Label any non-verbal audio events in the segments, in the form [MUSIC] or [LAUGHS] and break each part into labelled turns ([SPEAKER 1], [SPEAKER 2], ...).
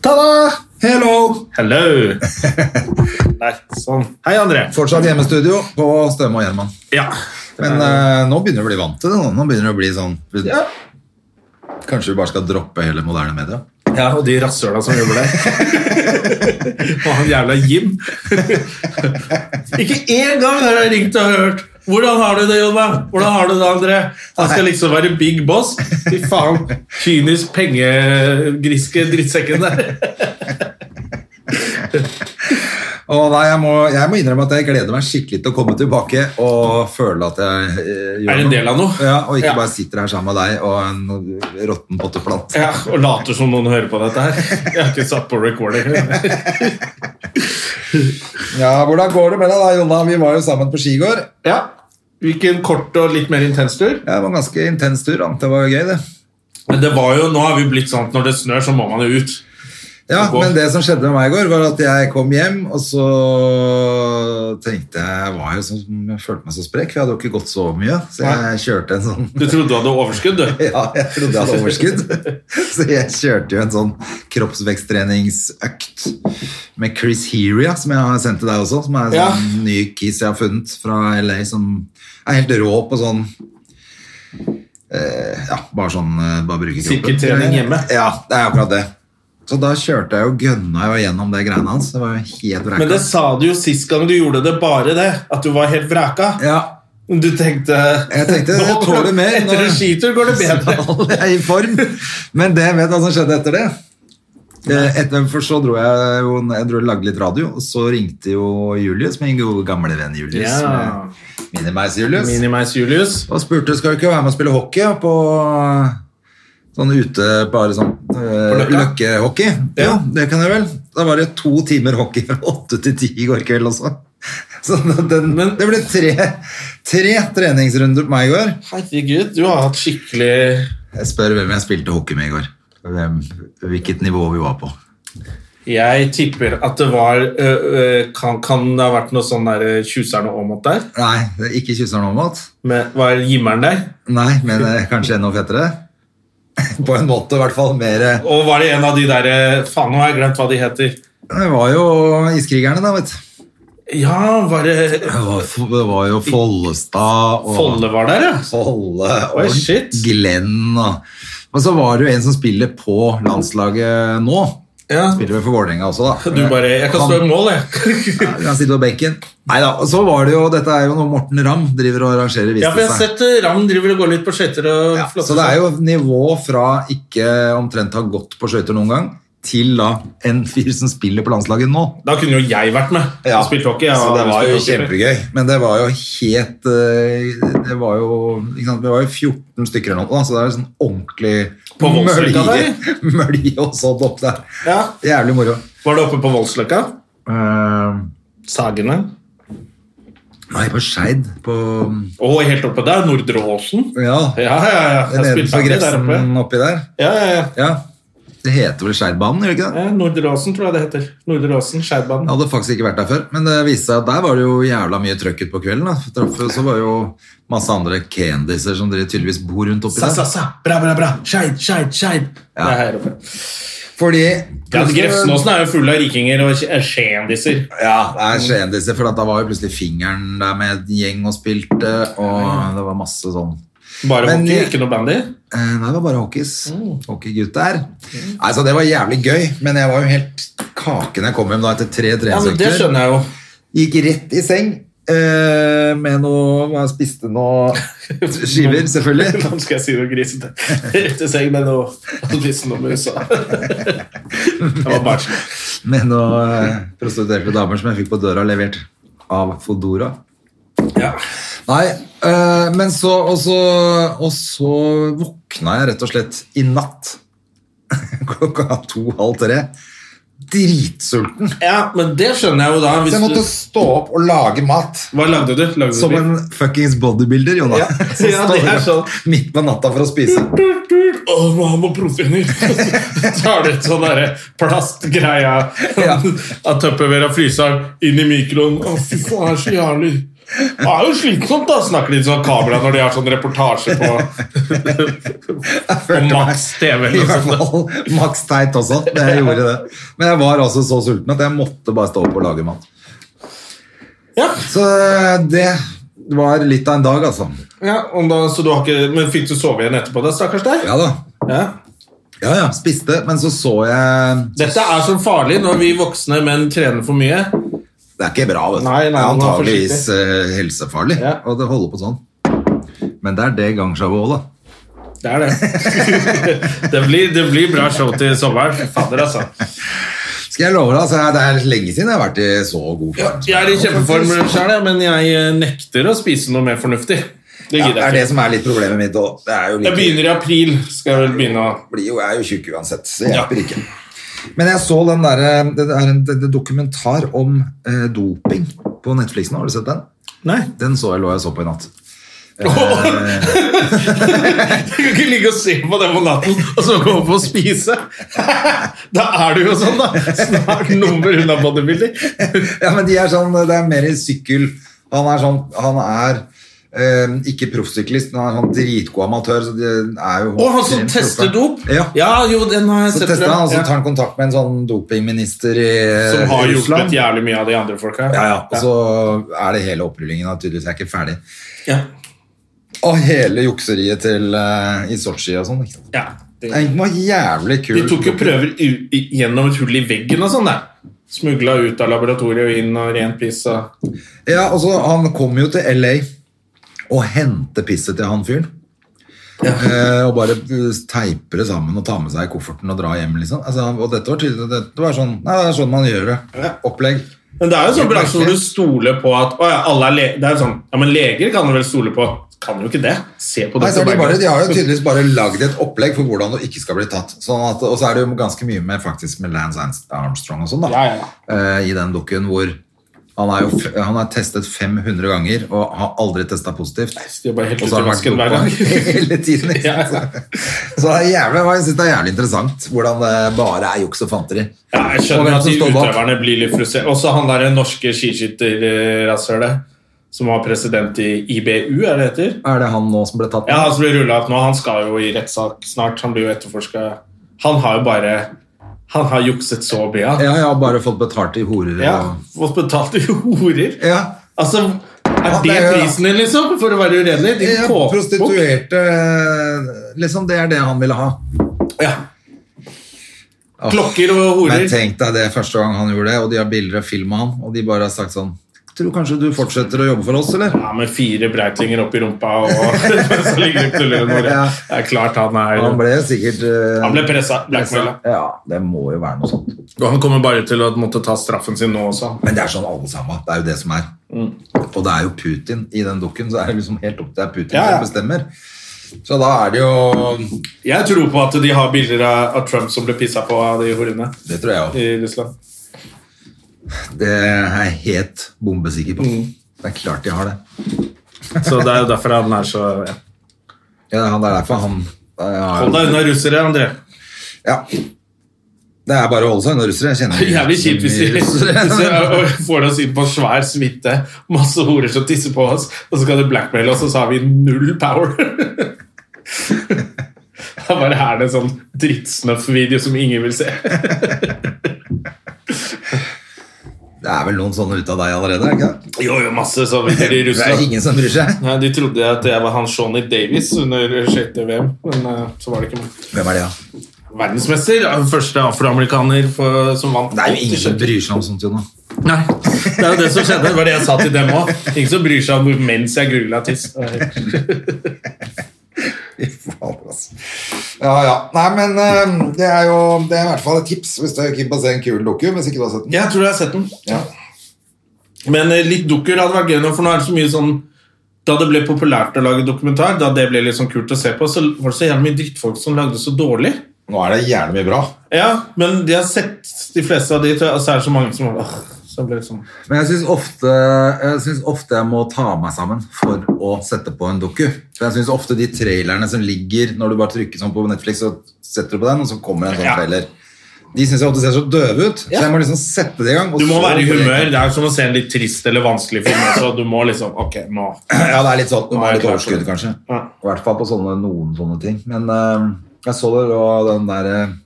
[SPEAKER 1] Ta-da! Hello!
[SPEAKER 2] Hello! [LAUGHS] Nei, sånn. Hei, André.
[SPEAKER 1] Fortsatt hjemmestudio på Støme og Gjerman.
[SPEAKER 2] Ja.
[SPEAKER 1] Men eh, nå begynner du å bli vant til det. Nå, nå begynner det å bli sånn
[SPEAKER 2] Ja.
[SPEAKER 1] Kanskje vi bare skal droppe hele moderne media?
[SPEAKER 2] ja, og de rasshøla som jobber der. [LAUGHS] og han jævla Jim. Ikke én gang har jeg ringt og hørt 'Hvordan har du det, Jonna? Hvordan har du det, André?' Han skal liksom være big boss. Fy faen. Kynisk pengegriske drittsekken der.
[SPEAKER 1] Å nei, jeg må, jeg må innrømme at jeg gleder meg skikkelig til å komme tilbake og føle at jeg eh, gjør
[SPEAKER 2] Er en del av noe.
[SPEAKER 1] Ja, og ikke
[SPEAKER 2] Ja.
[SPEAKER 1] bare sitter her sammen med deg og en råtten potteplant.
[SPEAKER 2] Ja, Og later som noen hører på dette her. Jeg har ikke satt på recorder.
[SPEAKER 1] Ja, hvordan går det med deg da, Jonna? Vi var jo sammen på skigård.
[SPEAKER 2] Ja. Gikk en kort og litt mer intens tur.
[SPEAKER 1] Ja, Det var en ganske intens tur. da. Det var jo gøy, det.
[SPEAKER 2] Men det var jo, nå har vi blitt sånn at når det snør, så må man jo ut.
[SPEAKER 1] Ja,
[SPEAKER 2] Og gå.
[SPEAKER 1] men det som skjedde med meg i går, var at jeg kom hjem, og så tenkte jeg Jeg var jo sånn, jeg følte meg så sprek, for jeg hadde jo ikke gått så mye. Så jeg kjørte en sånn
[SPEAKER 2] Du trodde du hadde overskudd, du.
[SPEAKER 1] [LAUGHS] Ja, jeg trodde jeg hadde overskudd. [LAUGHS] Så jeg kjørte jo en sånn kroppsveksttreningsøkt med Chris Heria, som jeg har sendt til deg også, som er en
[SPEAKER 2] Ja.
[SPEAKER 1] sånn ny kiss jeg har funnet fra LA, som er helt rå på sånn eh, Ja, bare sånn eh, Bare bruke kroppen.
[SPEAKER 2] Sirkeltrening hjemme.
[SPEAKER 1] Ja, det er akkurat det. Så da kjørte jeg jo gønna jo gjennom det greiene hans. Det var jo helt
[SPEAKER 2] Men det
[SPEAKER 1] vræka.
[SPEAKER 2] sa du jo sist gang du gjorde det, bare det. At du var helt vraka.
[SPEAKER 1] Ja,
[SPEAKER 2] Du tenkte
[SPEAKER 1] Jeg tenkte,
[SPEAKER 2] "Nå
[SPEAKER 1] jeg
[SPEAKER 2] går [LAUGHS]
[SPEAKER 1] tåler
[SPEAKER 2] det-
[SPEAKER 1] mer
[SPEAKER 2] Etter
[SPEAKER 1] når-
[SPEAKER 2] en skitur går det bedre.
[SPEAKER 1] holder jeg i form. Men det vet du hva som skjedde etter det. Eh, Etter, for så dro jeg jo jeg dro og lagde litt radio, og så ringte jo Julius, min gode gamle venn Julius.
[SPEAKER 2] Ja.
[SPEAKER 1] med Minimeis Julius.
[SPEAKER 2] Minimeis Julius.
[SPEAKER 1] og spurte skal du ikke være med og spille hockey ja, på sånn ute bare sånn eh,
[SPEAKER 2] Løkka?
[SPEAKER 1] løkkehockey.
[SPEAKER 2] Ja.
[SPEAKER 1] Jo, det kan jeg vel. Da var det to timer hockey fra åtte til ti i går kveld også. [LAUGHS] Så den,
[SPEAKER 2] Men-
[SPEAKER 1] det ble tre, tre treningsrunder på meg i går.
[SPEAKER 2] Herregud, du har hatt skikkelig
[SPEAKER 1] Jeg spør hvem jeg spilte hockey med i går. Hvem, hvilket nivå vi var på.
[SPEAKER 2] Jeg tipper at det var øh, øh, kan, kan det ha vært noe sånn der øh, Tjuseren og Åmot der?
[SPEAKER 1] Nei, det er ikke kysseren Aamodt.
[SPEAKER 2] Med, var Jimmeren der?
[SPEAKER 1] Nei, men eh, kanskje enda fettere. [LAUGHS] På en måte, i hvert fall. Mer eh,
[SPEAKER 2] Og var det en av de derre Faen, nå har jeg glemt hva de heter.
[SPEAKER 1] Det var jo iskrigerne, da, vet du.
[SPEAKER 2] Ja, var det
[SPEAKER 1] Det var, det var jo Follestad og
[SPEAKER 2] Folle var der, ja?
[SPEAKER 1] Folle og
[SPEAKER 2] Oi, shit.
[SPEAKER 1] Glenn og Og så var det jo en som spiller på landslaget nå.
[SPEAKER 2] ja.
[SPEAKER 1] Spiller vel for Vålerenga også, da.
[SPEAKER 2] Du bare Jeg kan stå i mål, jeg.
[SPEAKER 1] Ja, Han sitter på benken. Nei da. Og så var det jo Dette er jo noe Morten Ramm driver og arrangerer,
[SPEAKER 2] Ja,
[SPEAKER 1] viste
[SPEAKER 2] for jeg
[SPEAKER 1] det
[SPEAKER 2] har
[SPEAKER 1] seg.
[SPEAKER 2] sett eh, Ram driver og går litt på skøyter og
[SPEAKER 1] Ja,
[SPEAKER 2] flotter
[SPEAKER 1] så
[SPEAKER 2] seg.
[SPEAKER 1] det er jo nivå fra ikke omtrent ha gått på skøyter noen gang, til da en fyr som spiller på landslaget nå.
[SPEAKER 2] Da kunne jo jeg vært med og spilt hockey. Jeg
[SPEAKER 1] så det
[SPEAKER 2] har
[SPEAKER 1] var
[SPEAKER 2] aldri
[SPEAKER 1] jo
[SPEAKER 2] spilt hockey før.
[SPEAKER 1] kjempegøy. Men det var jo helt eh, Det var jo ikke sant? Vi var jo 14 stykker eller noe, da, så det er jo sånn ordentlig
[SPEAKER 2] På Voldsløkka
[SPEAKER 1] mølje- [LAUGHS] mølje og sånt opp der.
[SPEAKER 2] Ja.
[SPEAKER 1] Jævlig moro.
[SPEAKER 2] Var det oppe på Voldsløkka?
[SPEAKER 1] Eh,
[SPEAKER 2] Sagene?
[SPEAKER 1] nei, på Skeid. På
[SPEAKER 2] Å, helt oppe der? Nordre Åsen?
[SPEAKER 1] Ja.
[SPEAKER 2] Ja, ja, ja. Jeg
[SPEAKER 1] Nedenfor
[SPEAKER 2] spilte hockey der oppe.
[SPEAKER 1] Grefsen oppi der.
[SPEAKER 2] Ja, ja, ja.
[SPEAKER 1] Ja. Det heter vel Skeidbanen, gjør det ikke det?
[SPEAKER 2] Ja, Nordre Åsen, tror jeg det heter. Nordre Åsen, Skeidbanen.
[SPEAKER 1] Jeg hadde faktisk ikke vært der før, men det viste seg at der var det jo jævla mye trøkk ut på kvelden. da. For Traff jo, så var jo masse andre kendiser som dere tydeligvis bor rundt oppi
[SPEAKER 2] Sa, sa,
[SPEAKER 1] der.
[SPEAKER 2] sa. Bra, bra, bra. Skeid, Skeid, Skeid.
[SPEAKER 1] Ja.
[SPEAKER 2] Det er her oppe.
[SPEAKER 1] Fordi
[SPEAKER 2] Ja, Grefsenåsen er jo full av rikinger og kj- skjendiser.
[SPEAKER 1] Ja, det er skjendiser, for at da var jo plutselig fingeren der med en gjeng og spilte, og det var masse sånn
[SPEAKER 2] Bare
[SPEAKER 1] Men-
[SPEAKER 2] hockey, ikke noe bandy.
[SPEAKER 1] Eh, Nei, det var bare hockeys.
[SPEAKER 2] Mm.
[SPEAKER 1] Hockeygutt der. Nei, så det var jævlig gøy, men jeg var jo helt kaken jeg kom hjem da etter tre
[SPEAKER 2] Ja, men Det
[SPEAKER 1] treningsøkter.
[SPEAKER 2] skjønner jeg jo.
[SPEAKER 1] Gikk rett i seng eh, med noe Jeg
[SPEAKER 2] [LAUGHS]
[SPEAKER 1] spiste noe skiver, selvfølgelig.
[SPEAKER 2] Nå skal jeg si noe grisete. Rett i seng med noe Listen om USA. Det var barnslig.
[SPEAKER 1] med noen eh, prostituerte damer som jeg fikk på døra levert av Fodora.
[SPEAKER 2] Ja.
[SPEAKER 1] Nei, eh, men så og, så og så våkna jeg rett og slett i natt [LAUGHS] klokka to-halv tre. Dritsulten.
[SPEAKER 2] ja, men det skjønner jeg jo da.
[SPEAKER 1] Så jeg måtte
[SPEAKER 2] Hvis du,
[SPEAKER 1] stå opp og lage mat.
[SPEAKER 2] hva lagde du? Lagde
[SPEAKER 1] Som
[SPEAKER 2] du
[SPEAKER 1] en fuckings bodybuilder, Jonna.
[SPEAKER 2] Ja,
[SPEAKER 1] [LAUGHS] Som
[SPEAKER 2] ja, det
[SPEAKER 1] står
[SPEAKER 2] er
[SPEAKER 1] opp Midt på natta for å spise.
[SPEAKER 2] Å, nå har man proteiner! [LAUGHS] Så har du et sånn derre plastgreia
[SPEAKER 1] Ja.
[SPEAKER 2] [LAUGHS] av Tupperware og fryseren inn i mikroen. Å, fy faen, det er så jævlig. Det er jo slitsomt da, å snakke litt sånn kamera når de har sånn reportasje på,
[SPEAKER 1] [LAUGHS]
[SPEAKER 2] på
[SPEAKER 1] følte
[SPEAKER 2] Max TV.
[SPEAKER 1] I
[SPEAKER 2] Eller noe
[SPEAKER 1] hvert
[SPEAKER 2] sånt.
[SPEAKER 1] fall maks teit også. Det jeg gjorde det. Men jeg var altså så sulten at jeg måtte bare stå opp og lage mat.
[SPEAKER 2] Ja,
[SPEAKER 1] Så eh, det var litt av en dag, altså.
[SPEAKER 2] ja og da, så du har ikke, Men fikk du sove igjen etterpå, da, stakkars deg?
[SPEAKER 1] Ja da.
[SPEAKER 2] Ja.
[SPEAKER 1] Ja, ja. Spiste, men så så jeg
[SPEAKER 2] Dette er så farlig når vi voksne menn trener for mye.
[SPEAKER 1] Det er ikke bra, vet du.
[SPEAKER 2] Nei, nei,
[SPEAKER 1] det er
[SPEAKER 2] man må være
[SPEAKER 1] antageligvis eh, helsefarlig
[SPEAKER 2] Ja.
[SPEAKER 1] og det holder på sånn. Men det er det gangshawo òg, da.
[SPEAKER 2] Det [LAUGHS] er det. det, blir, det blir bra show til sommeren. Fader, altså.
[SPEAKER 1] Skal jeg love deg, altså, det er lenge siden jeg har vært i så god form. som
[SPEAKER 2] Jeg er i
[SPEAKER 1] nå,
[SPEAKER 2] kjempeform
[SPEAKER 1] faktisk.
[SPEAKER 2] sjøl, men jeg eh, nekter å spise noe mer fornuftig. Det
[SPEAKER 1] Ja,
[SPEAKER 2] gidder
[SPEAKER 1] det er det
[SPEAKER 2] jeg ikke.
[SPEAKER 1] som er litt problemet mitt òg. Det er jo
[SPEAKER 2] Jeg
[SPEAKER 1] litt,
[SPEAKER 2] begynner i april. Skal jeg vel begynne å
[SPEAKER 1] blir jo, jeg er jo tjukk uansett, så det
[SPEAKER 2] Ja.
[SPEAKER 1] hjelper ikke. Men jeg så den der, eh, det er en det, det dokumentar om eh, doping på Netflix nå. Har du sett den?
[SPEAKER 2] [LAUGHS] Nei.
[SPEAKER 1] Den så jeg lå jeg og så på i natt.
[SPEAKER 2] Du kan ikke ligge og se på det på natten og så gå opp og spise. [LAUGHS] Da er du jo sånn, da. Snart nummer unna bodybuilder.
[SPEAKER 1] Ja, men de er sånn, det er mer i sykkel. Han er sånn, han er eh, ikke proffsyklist, men han er sånn dritgod amatør, så det er jo...
[SPEAKER 2] Og han som
[SPEAKER 1] ekstremt
[SPEAKER 2] tester
[SPEAKER 1] proff,
[SPEAKER 2] dop?
[SPEAKER 1] da. Ja,
[SPEAKER 2] jo, den har jeg
[SPEAKER 1] så
[SPEAKER 2] sett.
[SPEAKER 1] tester
[SPEAKER 2] før.
[SPEAKER 1] han, og så
[SPEAKER 2] Ja.
[SPEAKER 1] tar han kontakt med en sånn dopingminister i eh,
[SPEAKER 2] Som har
[SPEAKER 1] Russland.
[SPEAKER 2] hjulpet jævlig mye av de andre folka.
[SPEAKER 1] Ja, ja, og så er det hele opprullingen, at tydeligvis er ikke ferdig.
[SPEAKER 2] Ja.
[SPEAKER 1] Og hele jukseriet til, eh, i Sochi og sånn, ikke sant?
[SPEAKER 2] Ja.
[SPEAKER 1] Det er en jævlig kul...
[SPEAKER 2] De tok jo prøver u- i- gjennom et hull i veggen og sånn, der. Smugla ut av laboratoriet og inn og rent piss og
[SPEAKER 1] Ja, altså, han kom jo til LA og hentet pisset til han fyren. Eh, og bare eh, teiper det sammen og tar med seg i kofferten og drar hjem. liksom altså, han- Og dette var tydelig Dette var sånn Nei, det er sånn man gjør det. Opplegg.
[SPEAKER 2] Men det er jo sånn bransje hvor du stoler på at å ja, alle er le Det er jo sånn Ja, men leger kan du vel stole på? Kan jo ikke det. Se på
[SPEAKER 1] Nei, så er
[SPEAKER 2] Dr.
[SPEAKER 1] de, bare,
[SPEAKER 2] Berger.
[SPEAKER 1] de har jo tydeligvis bare lagd et opplegg for hvordan du ikke skal bli tatt. Sånn at, og så er det jo ganske mye med faktisk med Lance Arnst- Armstrong og sånn, da.
[SPEAKER 2] Ja, ja, ja.
[SPEAKER 1] eh, I den dukken hvor han er jo f han er testet 500 ganger og har aldri testa positivt.
[SPEAKER 2] De er bare helt
[SPEAKER 1] Og
[SPEAKER 2] ute
[SPEAKER 1] så
[SPEAKER 2] i
[SPEAKER 1] har
[SPEAKER 2] vasken
[SPEAKER 1] han
[SPEAKER 2] hver
[SPEAKER 1] vært
[SPEAKER 2] gang. [LAUGHS]
[SPEAKER 1] oppå hele tiden. Ikke
[SPEAKER 2] Ja,
[SPEAKER 1] sant? Så det er jævlig, jeg synes det er jævlig interessant hvordan det bare er juks og fanteri.
[SPEAKER 2] Ja, jeg
[SPEAKER 1] Og
[SPEAKER 2] skjønner
[SPEAKER 1] hvem
[SPEAKER 2] at
[SPEAKER 1] som
[SPEAKER 2] de
[SPEAKER 1] står bak.
[SPEAKER 2] utøverne blir litt frustrert. Også han derre norske skiskytterrasshølet som var president i IBU, er det det heter?
[SPEAKER 1] Er det han nå som ble tatt?
[SPEAKER 2] Ja, han som blir rullet opp nå, han skal jo i rettssak snart. Han blir jo etterforska. Han har jo bare Han har jukset så mye. han.
[SPEAKER 1] ja, jeg har bare fått betalt i horer.
[SPEAKER 2] Ja,
[SPEAKER 1] Og...
[SPEAKER 2] Fått betalt i [LAUGHS] horer.
[SPEAKER 1] ja.
[SPEAKER 2] Altså, er
[SPEAKER 1] Ja, det
[SPEAKER 2] det
[SPEAKER 1] er jo-
[SPEAKER 2] prisen din, liksom? For å være uredelig? Din
[SPEAKER 1] ja
[SPEAKER 2] kåpebok?
[SPEAKER 1] prostituerte Liksom, det er det han ville ha.
[SPEAKER 2] Ja. Klokker og horer.
[SPEAKER 1] Men tenk deg det første gang han gjorde det, og de har bilder og film av han, og de bare har sagt sånn Tror kanskje du fortsetter å jobbe for oss, eller?
[SPEAKER 2] Ja, med fire breitlinger opp i rumpa og [LAUGHS] så ligger det på tullen vår.
[SPEAKER 1] Ja.
[SPEAKER 2] Det er klart han er
[SPEAKER 1] Han ble sikkert eh,
[SPEAKER 2] Han ble pressa. blackmaila.
[SPEAKER 1] Ja, det må jo være noe sånt.
[SPEAKER 2] Og han kommer bare til å måtte ta straffen sin nå også.
[SPEAKER 1] Men det er sånn alle sammen. Det er jo det som er.
[SPEAKER 2] Mm.
[SPEAKER 1] Og det er jo Putin i den dukken. Så er det liksom helt opp til det er
[SPEAKER 2] Ja,
[SPEAKER 1] Putin
[SPEAKER 2] ja.
[SPEAKER 1] som bestemmer. Så da er det jo
[SPEAKER 2] Jeg tror på at de har bilder av av Trump som ble pissa på av de horene
[SPEAKER 1] Det tror jeg òg.
[SPEAKER 2] i Russland.
[SPEAKER 1] Det er jeg helt bombesikker på.
[SPEAKER 2] Mm.
[SPEAKER 1] Det er klart de har det.
[SPEAKER 2] Så det er jo derfor han er så ja.
[SPEAKER 1] Ja, han det er derfor han
[SPEAKER 2] [LAUGHS] Hold
[SPEAKER 1] ja,
[SPEAKER 2] deg unna russere, André. [LAUGHS]
[SPEAKER 1] ja. Det er bare å holde seg unna russere. Jeg kjenner
[SPEAKER 2] [LAUGHS] Jævlig kjipt hvis de [LAUGHS] hvis de
[SPEAKER 1] russere.
[SPEAKER 2] og får oss inn på svær smitte, masse horer som tisser på oss, og så skal de blackmaile oss, og så har vi null power. [LAUGHS] Da bare er det en sånn drittsnøff-video som ingen vil se.
[SPEAKER 1] [LAUGHS] Det er vel noen sånne ute av deg allerede? er det Ikke?
[SPEAKER 2] [LAUGHS] Jo, jo, masse sånne [LAUGHS] videoer i
[SPEAKER 1] det? Det er
[SPEAKER 2] Russland.
[SPEAKER 1] ingen som bryr seg.
[SPEAKER 2] Nei, De trodde at jeg var han Shawnee Davis under skøyte-VM, men eh, så var det ikke meg.
[SPEAKER 1] Hvem er det, da?
[SPEAKER 2] Verdensmester. ja, Første afroamerikaner for, som vant.
[SPEAKER 1] Det er jo ingen som bryr seg om sånt, Jonas.
[SPEAKER 2] Nei, det er jo det som skjedde. Det var det jeg sa til dem òg. Ingen som bryr seg om hvor- mens jeg googla tiss.
[SPEAKER 1] Fy fader, altså. Ja, ja. Nei, men eh, det er jo det er i hvert fall et tips hvis du er keen på å se en kul doku. Hvis ikke du har sett den.
[SPEAKER 2] Jeg tror jeg har sett den.
[SPEAKER 1] Ja.
[SPEAKER 2] Men eh, litt dukker hadde vært gøy nå, for nå er det så mye sånn da det ble populært å lage dokumentar, da det ble litt sånn kult å se på, så var det så jævlig mye drittfolk som lagde så dårlig.
[SPEAKER 1] Nå er det gjerne mye bra.
[SPEAKER 2] Ja, men de har sett de fleste av de, tror jeg, og så er det så mange som åh, så ble det sånn.
[SPEAKER 1] Men jeg syns ofte, jeg synes ofte jeg må ta meg sammen for å sette på en doku. For jeg syns ofte de trailerne som ligger når du bare trykker sånn på Netflix, så setter du på den, og så kommer en sånn
[SPEAKER 2] Ja.
[SPEAKER 1] trailer. de syns jeg ofte ser så døve ut. Så jeg må liksom sette det i gang. og
[SPEAKER 2] Du må
[SPEAKER 1] så
[SPEAKER 2] være i
[SPEAKER 1] blir det-
[SPEAKER 2] humør. Det er som å se en litt trist eller vanskelig film. også. du må liksom Ok, nå.
[SPEAKER 1] [LAUGHS] Ja, det er litt sånn. Du må ha
[SPEAKER 2] jeg
[SPEAKER 1] litt
[SPEAKER 2] klar for
[SPEAKER 1] overskudd,
[SPEAKER 2] det.
[SPEAKER 1] kanskje.
[SPEAKER 2] Ja.
[SPEAKER 1] I hvert fall på sånne, noen sånne ting. Men eh, jeg så det og den der eh,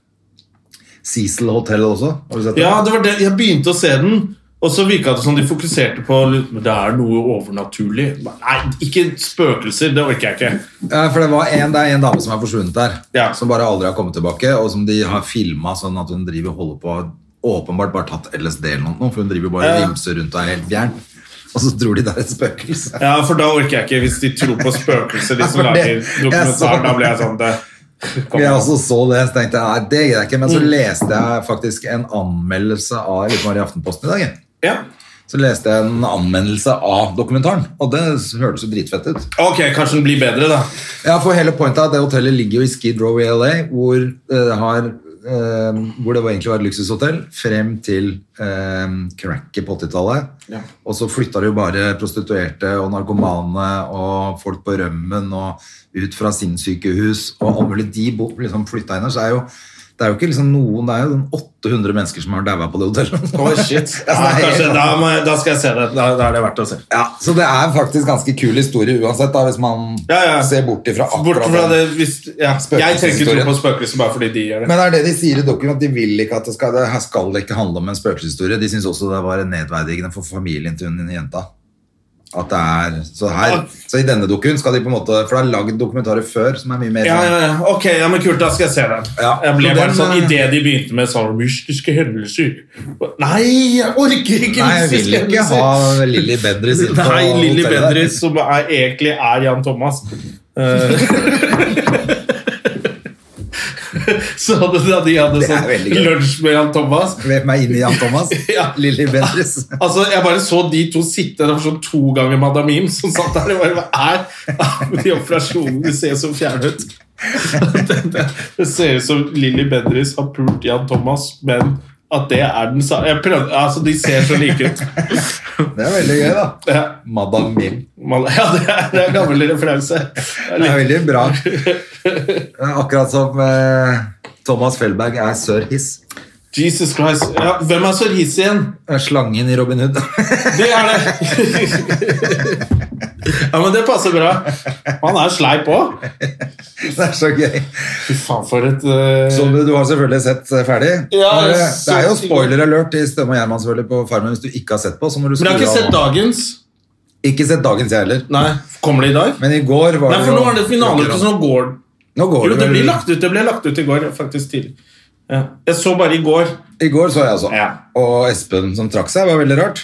[SPEAKER 1] Cecil Hotel også. Har du sett det?
[SPEAKER 2] Ja, det var det. Jeg begynte å se den, og så virka det som de fokuserte på litt, Men det er noe overnaturlig. Nei, ikke spøkelser. Det orker jeg ikke.
[SPEAKER 1] Ja, for det, var en, det er en dame som er forsvunnet der,
[SPEAKER 2] Ja.
[SPEAKER 1] som bare aldri har kommet tilbake, og som de har filma sånn at hun driver og holder på Åpenbart bare tatt LSD eller noe, for hun driver bare og
[SPEAKER 2] Ja.
[SPEAKER 1] rimser rundt og er helt fjern. Og så tror de det er et spøkelse.
[SPEAKER 2] Ja, for da orker jeg ikke hvis de tror på spøkelser,
[SPEAKER 1] [LAUGHS]
[SPEAKER 2] de som
[SPEAKER 1] Ja, for det-
[SPEAKER 2] lager
[SPEAKER 1] jeg så-
[SPEAKER 2] dokumentar. Da blir jeg sånn det,
[SPEAKER 1] Jeg også så det, så tenkte jeg nei, det gidder jeg ikke. Men så leste jeg faktisk en anmeldelse av Litt var i Aftenposten i dag. jeg.
[SPEAKER 2] Ja.
[SPEAKER 1] Så leste jeg en anmeldelse av dokumentaren, og det hørtes jo dritfett ut.
[SPEAKER 2] Ok, kanskje den blir bedre, da.
[SPEAKER 1] Ja, for hele pointet er at det hotellet ligger jo i Skid Row i LA, hvor, eh, har, eh, hvor det var egentlig var et luksushotell, frem til eh, cracket på 80-tallet.
[SPEAKER 2] Ja.
[SPEAKER 1] Og så flytta det jo bare prostituerte og narkomane og folk på rømmen og ut fra sinnssykehus og alt mulig. De bo- liksom flytta inn her, så er jo det er jo ikke liksom noen, det er jo sånn 800 mennesker som har daua på det hotellet.
[SPEAKER 2] Oi, shit. [LAUGHS] Ja, kanskje, da, må, jeg- da skal jeg se det. Da, da er det verdt å se.
[SPEAKER 1] Ja, Så det er faktisk ganske kul historie uansett, da, hvis man
[SPEAKER 2] Ja, ja.
[SPEAKER 1] ser bort ifra akkurat
[SPEAKER 2] Bort fra
[SPEAKER 1] den.
[SPEAKER 2] det hvis, ja. Jeg trenger ikke tro
[SPEAKER 1] Spøkelseshistorien.
[SPEAKER 2] på spøkelser bare fordi de gjør det.
[SPEAKER 1] Men det er det de sier i dokumentet, at de vil ikke at det skal, det her skal det ikke handle om en spøkelseshistorie. De syns også det var nedverdigende for familien til hun jenta. At det er, så, her, så i denne dokumen skal de på en måte For det er lagd dokumentarer før som er mye mer
[SPEAKER 2] Ja,
[SPEAKER 1] sånn-
[SPEAKER 2] ja, ja. Ok, ja, men kult, da skal jeg se den.
[SPEAKER 1] Ja,
[SPEAKER 2] Jeg ble
[SPEAKER 1] så
[SPEAKER 2] bare
[SPEAKER 1] den,
[SPEAKER 2] sånn,
[SPEAKER 1] eh,
[SPEAKER 2] Idet de begynte med sånn mystiske hendelser Nei, jeg orker ikke
[SPEAKER 1] sånn, Nei, jeg vil
[SPEAKER 2] mystiske
[SPEAKER 1] ikke
[SPEAKER 2] hendelser!
[SPEAKER 1] ha Lilly Bendriss inn på
[SPEAKER 2] Nei, Lilly
[SPEAKER 1] hotellet der.
[SPEAKER 2] Bendriss, som er, egentlig er Jan Thomas. Eh, [LAUGHS] Så hadde da de hadde
[SPEAKER 1] Det er
[SPEAKER 2] sånn
[SPEAKER 1] veldig gøy.
[SPEAKER 2] lunsj med Jan Thomas
[SPEAKER 1] Vep meg inn i Jan Thomas.
[SPEAKER 2] [LAUGHS] Ja.
[SPEAKER 1] Lilly Bendriss.
[SPEAKER 2] Altså, Jeg bare så de to sitte Det var sånn to ganger Madam Mim som satt der. Og bare, Hva er [LAUGHS] de operasjonene? De ser så fjerne ut. [LAUGHS] Det, det, det ser ut som Lilly Bendriss har pult Jan Thomas, men at det er den samme jeg prøvde, altså, De ser så like ut.
[SPEAKER 1] Det er veldig gøy, da.
[SPEAKER 2] Ja,
[SPEAKER 1] Madam Mim.
[SPEAKER 2] man, ja det, er, det er gammel referanse. Det er
[SPEAKER 1] Det er
[SPEAKER 2] litt-
[SPEAKER 1] veldig bra. Akkurat som eh, Thomas Felberg er sir Hiss.
[SPEAKER 2] Jesus Christ. Ja, hvem er så ris igjen?
[SPEAKER 1] Er Slangen i Robin Hood. [LAUGHS]
[SPEAKER 2] Det er det. [LAUGHS] Ja, men det passer bra. Han er sleip òg.
[SPEAKER 1] Det er så gøy.
[SPEAKER 2] Fy faen, for et eh,
[SPEAKER 1] Som du, du har selvfølgelig sett eh, ferdig.
[SPEAKER 2] Ja,
[SPEAKER 1] Har du-
[SPEAKER 2] jeg
[SPEAKER 1] det er jo
[SPEAKER 2] så-
[SPEAKER 1] spoiler alert i Stømme og Gjerman selvfølgelig på Farmen hvis du ikke har sett på. Så må du
[SPEAKER 2] Men jeg har ikke
[SPEAKER 1] skru av
[SPEAKER 2] sett
[SPEAKER 1] nå.
[SPEAKER 2] dagens.
[SPEAKER 1] Ikke sett dagens, jeg heller.
[SPEAKER 2] Nei, Kommer det i dag?
[SPEAKER 1] Men i går var
[SPEAKER 2] Nei, for
[SPEAKER 1] jo-
[SPEAKER 2] nå er det finale, så nå går
[SPEAKER 1] Nå går
[SPEAKER 2] Jo, det
[SPEAKER 1] vel-
[SPEAKER 2] blir lagt ut. Det ble lagt ut i går, faktisk tidlig. Ja. Jeg så bare i går.
[SPEAKER 1] I går så jeg også.
[SPEAKER 2] Ja.
[SPEAKER 1] Og Espen som trakk seg, var veldig rart.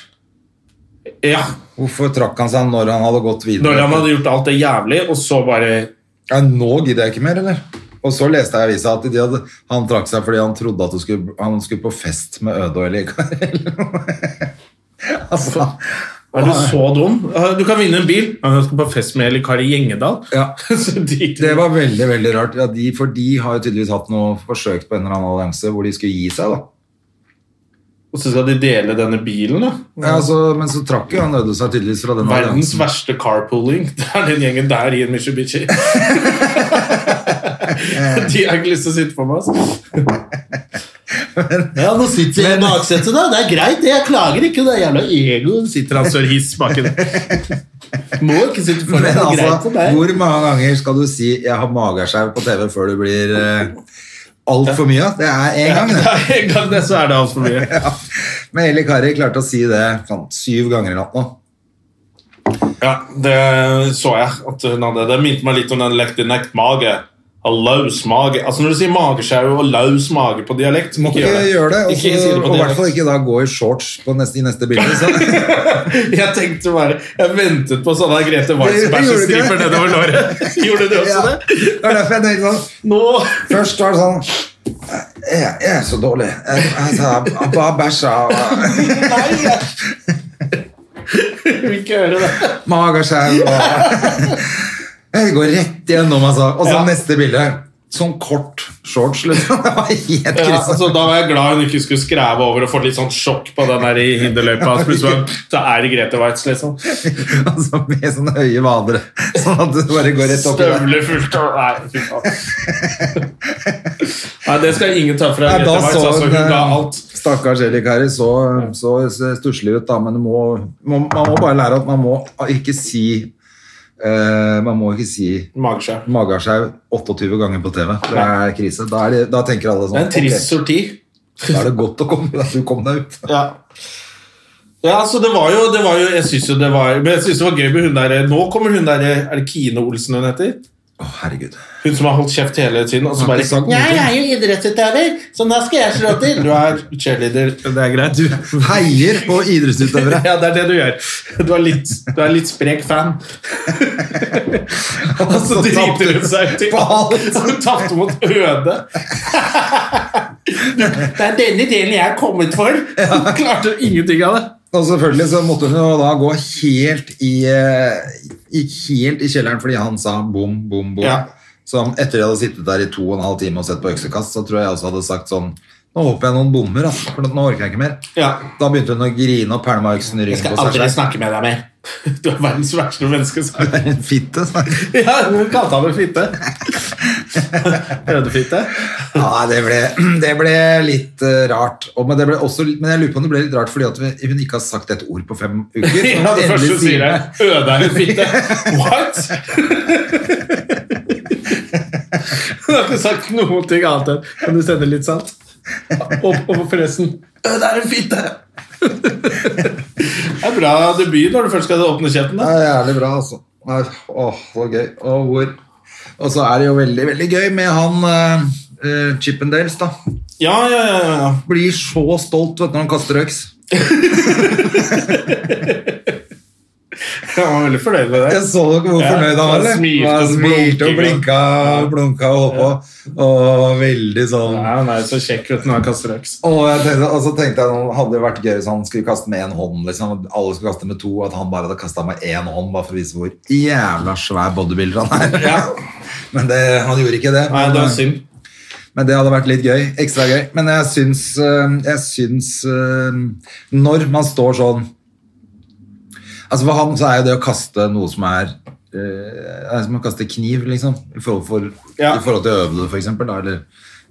[SPEAKER 2] Ja,
[SPEAKER 1] Hvorfor trakk han seg når han hadde gått videre?
[SPEAKER 2] Når han hadde gjort alt det jævlig, og så bare
[SPEAKER 1] ja, nå gidder jeg ikke mer, eller? Og så leste jeg i avisa at de hadde, han trakk seg fordi han trodde at du skulle, han skulle på fest med Øde og Elikar. [LAUGHS] altså,
[SPEAKER 2] Er du så dum? Eh, Du kan vinne en bil. Ja, Jeg skal på fest med Eli Kari Gjengedal. [LAUGHS]
[SPEAKER 1] Ja.
[SPEAKER 2] så drit i
[SPEAKER 1] Det var veldig, veldig rart. Ja, de, for de har jo tydeligvis hatt noe forsøk på en eller annen allianse hvor de skulle gi seg, da.
[SPEAKER 2] Og så skal de dele denne bilen, da.
[SPEAKER 1] Ja, altså, men så trakk jo han Øde seg tydeligvis fra den
[SPEAKER 2] Verdens
[SPEAKER 1] alliansen.
[SPEAKER 2] verste carpooling. [LAUGHS] Det er den gjengen der i en
[SPEAKER 1] [LAUGHS]
[SPEAKER 2] Mitsubishi. De har ikke lyst til å sitte på meg. altså. ja, nå sitter jeg i baksetet, da. Det er greit, det. Jeg klager ikke. Det er jævla ego. Sitter han sør hiss bak en Må ikke sitte foran.
[SPEAKER 1] Men
[SPEAKER 2] Det er greit
[SPEAKER 1] altså,
[SPEAKER 2] for deg.
[SPEAKER 1] hvor mange ganger skal du si 'jeg har magerskjev' på TV før du blir eh, altfor mye? Det er én gang, det.
[SPEAKER 2] Ja, en gang det, så er det altfor mye.
[SPEAKER 1] Ja. Men Eli Kari klarte å si det sånn, syv ganger i natt nå.
[SPEAKER 2] Ja, det så jeg. at hun hadde. Det minte meg litt om den lekte nekt mage. Ha Løs mage. Altså Når du sier mageskjau og løs mage på dialekt
[SPEAKER 1] Må ikke
[SPEAKER 2] gjør
[SPEAKER 1] gjøre det. altså,
[SPEAKER 2] Ikke si det
[SPEAKER 1] Og
[SPEAKER 2] på
[SPEAKER 1] i hvert fall
[SPEAKER 2] dialekt.
[SPEAKER 1] ikke da gå i shorts på neste, i neste bilde.
[SPEAKER 2] [LAUGHS]
[SPEAKER 1] Så.
[SPEAKER 2] Jeg tenkte bare Jeg ventet på sånne Grete Weissberg-striper
[SPEAKER 1] Gjorde du ikke det?
[SPEAKER 2] nedover
[SPEAKER 1] [LAUGHS]
[SPEAKER 2] låret. Gjorde du også
[SPEAKER 1] Ja.
[SPEAKER 2] det?
[SPEAKER 1] Det er derfor jeg tenkte sånn
[SPEAKER 2] Nå
[SPEAKER 1] Først var det sånn Jeg, jeg er så dårlig. Jeg, altså, jeg bare bæsja. og- [LAUGHS]
[SPEAKER 2] Nei! jeg- Jeg vil ikke høre det.
[SPEAKER 1] [LAUGHS] Magerskjell og Jeg går rett gjennom, altså. Og så
[SPEAKER 2] Ja.
[SPEAKER 1] neste bilde. Sånn kort shorts, liksom. [LAUGHS] Det var helt
[SPEAKER 2] Ja,
[SPEAKER 1] krise.
[SPEAKER 2] altså, da var jeg glad hun ikke skulle skreve over og få litt sånn sjokk på den der i hinderløypa. Så plutselig var det- det er Grete Waitz, liksom.
[SPEAKER 1] Altså, med sånne høye vadere, sånn at du bare går rett opp i det.
[SPEAKER 2] Støvler fullt av Nei, fy faen. [LAUGHS] Nei, det skal ingen ta fra
[SPEAKER 1] Nei,
[SPEAKER 2] Grete
[SPEAKER 1] da
[SPEAKER 2] Waitz.
[SPEAKER 1] så
[SPEAKER 2] Altså, hun
[SPEAKER 1] hun,
[SPEAKER 2] ga
[SPEAKER 1] eh,
[SPEAKER 2] alt.
[SPEAKER 1] Stakkars Elikari så, så stusslig ut, da, men du må, må, man må bare lære at man må ikke si eh, Man må ikke si
[SPEAKER 2] Mageskjær.
[SPEAKER 1] magasjau 28 ganger på TV. Det er krise. Da, er det, da tenker alle
[SPEAKER 2] Det er
[SPEAKER 1] sånn
[SPEAKER 2] en trist
[SPEAKER 1] ok,
[SPEAKER 2] sorti.
[SPEAKER 1] Da er det godt å komme, at du kom deg ut.
[SPEAKER 2] Ja. Ja, så det var jo, det var jo Jeg syns jo det var Men jeg synes det var gøy med hun der eh, Nå kommer hun der Er det Kine Olsen hun heter?
[SPEAKER 1] Å, herregud.
[SPEAKER 2] Hun som har holdt kjeft hele tiden, og så
[SPEAKER 1] Har
[SPEAKER 2] bare
[SPEAKER 1] ikke sagt noe.
[SPEAKER 2] «Nei, jeg er jo idrettsutøver, så da skal jeg slå
[SPEAKER 1] [LAUGHS]
[SPEAKER 2] til. Du er cheerleader. Det er greit.
[SPEAKER 1] Du heier på
[SPEAKER 2] [LAUGHS]
[SPEAKER 1] idrettsutøvere.
[SPEAKER 2] Ja, det er det du gjør. Du er litt, du er litt sprek fan. Og så
[SPEAKER 1] Så tapte
[SPEAKER 2] driter hun seg ut i
[SPEAKER 1] Altså, på
[SPEAKER 2] [LAUGHS]
[SPEAKER 1] alt.
[SPEAKER 2] Så hun tapte mot Øde. [LAUGHS] Det er denne delen jeg er kommet for. Hun klarte ingenting av det.
[SPEAKER 1] Og selvfølgelig så måtte hun jo da gå helt i, eh, i, helt i kjelleren fordi han sa bom, bom, bom.
[SPEAKER 2] Ja.
[SPEAKER 1] Så han- etter jeg hadde sittet der i to og en halv time og sett på øksekast, så tror jeg også hadde sagt sånn Nå håper jeg noen bommer, ass, for nå orker jeg ikke mer.
[SPEAKER 2] Ja.
[SPEAKER 1] Da begynte hun å grine og pælma øksen i
[SPEAKER 2] Jeg
[SPEAKER 1] ryggen
[SPEAKER 2] skal
[SPEAKER 1] på seg
[SPEAKER 2] aldri
[SPEAKER 1] selv. [LAUGHS]
[SPEAKER 2] snakke med deg mer. Du er verdens verste menneske. sa hun.
[SPEAKER 1] Det er en fitte. sa jeg.
[SPEAKER 2] Ja, hun kalte ham en fitte. [LAUGHS] Ødefitte.
[SPEAKER 1] Ja, det ble, [CLEARS THROAT] det ble litt eh, rart. Og, men, det ble også, men jeg lurer på om det ble litt rart fordi at vi- hun ikke har sagt et ord på fem uker. Så hun
[SPEAKER 2] [LAUGHS] Ja, det
[SPEAKER 1] endelig
[SPEAKER 2] første hun sier
[SPEAKER 1] det.
[SPEAKER 2] er 'Øde er en fitte'. [LAUGHS] What?! Hun har ikke sagt noen ting annet enn 'Kan du sende litt salt?' Og, og forresten 'Øde er en fitte'! Det er bra debut når du først skal åpne kjeften. da.
[SPEAKER 1] Det er jævlig bra, altså. Nei, Åh, så gøy. Og, hvor... og så er det jo veldig, veldig gøy med han eh, eh, Chippendales, da.
[SPEAKER 2] Ja, ja, ja, ja, ja.
[SPEAKER 1] Blir så stolt vet du, når han kaster øks.
[SPEAKER 2] Jeg var veldig fornøyd med det.
[SPEAKER 1] Jeg så dere hvor
[SPEAKER 2] Ja,
[SPEAKER 1] fornøyd han var.
[SPEAKER 2] han
[SPEAKER 1] eller?
[SPEAKER 2] smilte og
[SPEAKER 1] Han smilte og
[SPEAKER 2] blunket.
[SPEAKER 1] blinka og blunka og holdt på. Og veldig sånn
[SPEAKER 2] Nei, han er jo så kjekk ut når han kaster øks.
[SPEAKER 1] og, jeg tenkte, og så tenkte jeg det hadde det vært gøy hvis han skulle kaste med én hånd. liksom at Alle skulle kaste med to, at han bare hadde kasta med én hånd. Bare for å vise hvor jævla svær bodybuilder han er.
[SPEAKER 2] Ja.
[SPEAKER 1] [LAUGHS] Men det, han gjorde ikke det.
[SPEAKER 2] Nei, det
[SPEAKER 1] Men-
[SPEAKER 2] var synd.
[SPEAKER 1] Men det hadde vært litt gøy. Ekstra gøy. Men jeg syns, øh, jeg syns øh, Når man står sånn Altså For han så er jo det å kaste noe som er øh, Det er som å kaste kniv, liksom. I forhold, for,
[SPEAKER 2] Ja.
[SPEAKER 1] i forhold til Øvde, for eksempel. Da, eller,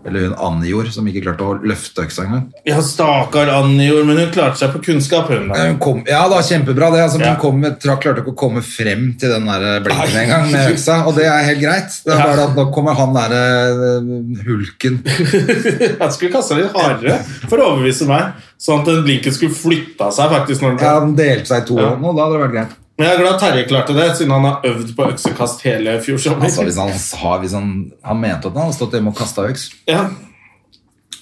[SPEAKER 1] eller hun Annijord, som ikke klarte å løfte øksa engang.
[SPEAKER 2] Ja, stakkar Anjor, men hun klarte seg på kunnskap, hun.
[SPEAKER 1] Ja,
[SPEAKER 2] da.
[SPEAKER 1] Eh, hun kom- Ja da, kjempebra det. Altså,
[SPEAKER 2] Ja.
[SPEAKER 1] Hun kom, tra- klarte ikke å komme frem til den der eh, blinken
[SPEAKER 2] Nei.
[SPEAKER 1] engang med øksa, og det er helt greit. Det er
[SPEAKER 2] Ja.
[SPEAKER 1] bare at nå kommer han derre hulken
[SPEAKER 2] Han skulle kaste den litt hardere for å overbevise meg, sånn at den blinken skulle flytta seg. faktisk når den
[SPEAKER 1] Ja,
[SPEAKER 2] kom.
[SPEAKER 1] Han delte seg i to,
[SPEAKER 2] Ja.
[SPEAKER 1] og da hadde det vært greit.
[SPEAKER 2] Men jeg er glad Terje klarte det, siden han har øvd på øksekast hele fjor sommer.
[SPEAKER 1] Altså, hvis han, sa, hvis han, han mente at han hadde stått hjemme og kasta øks,
[SPEAKER 2] Ja.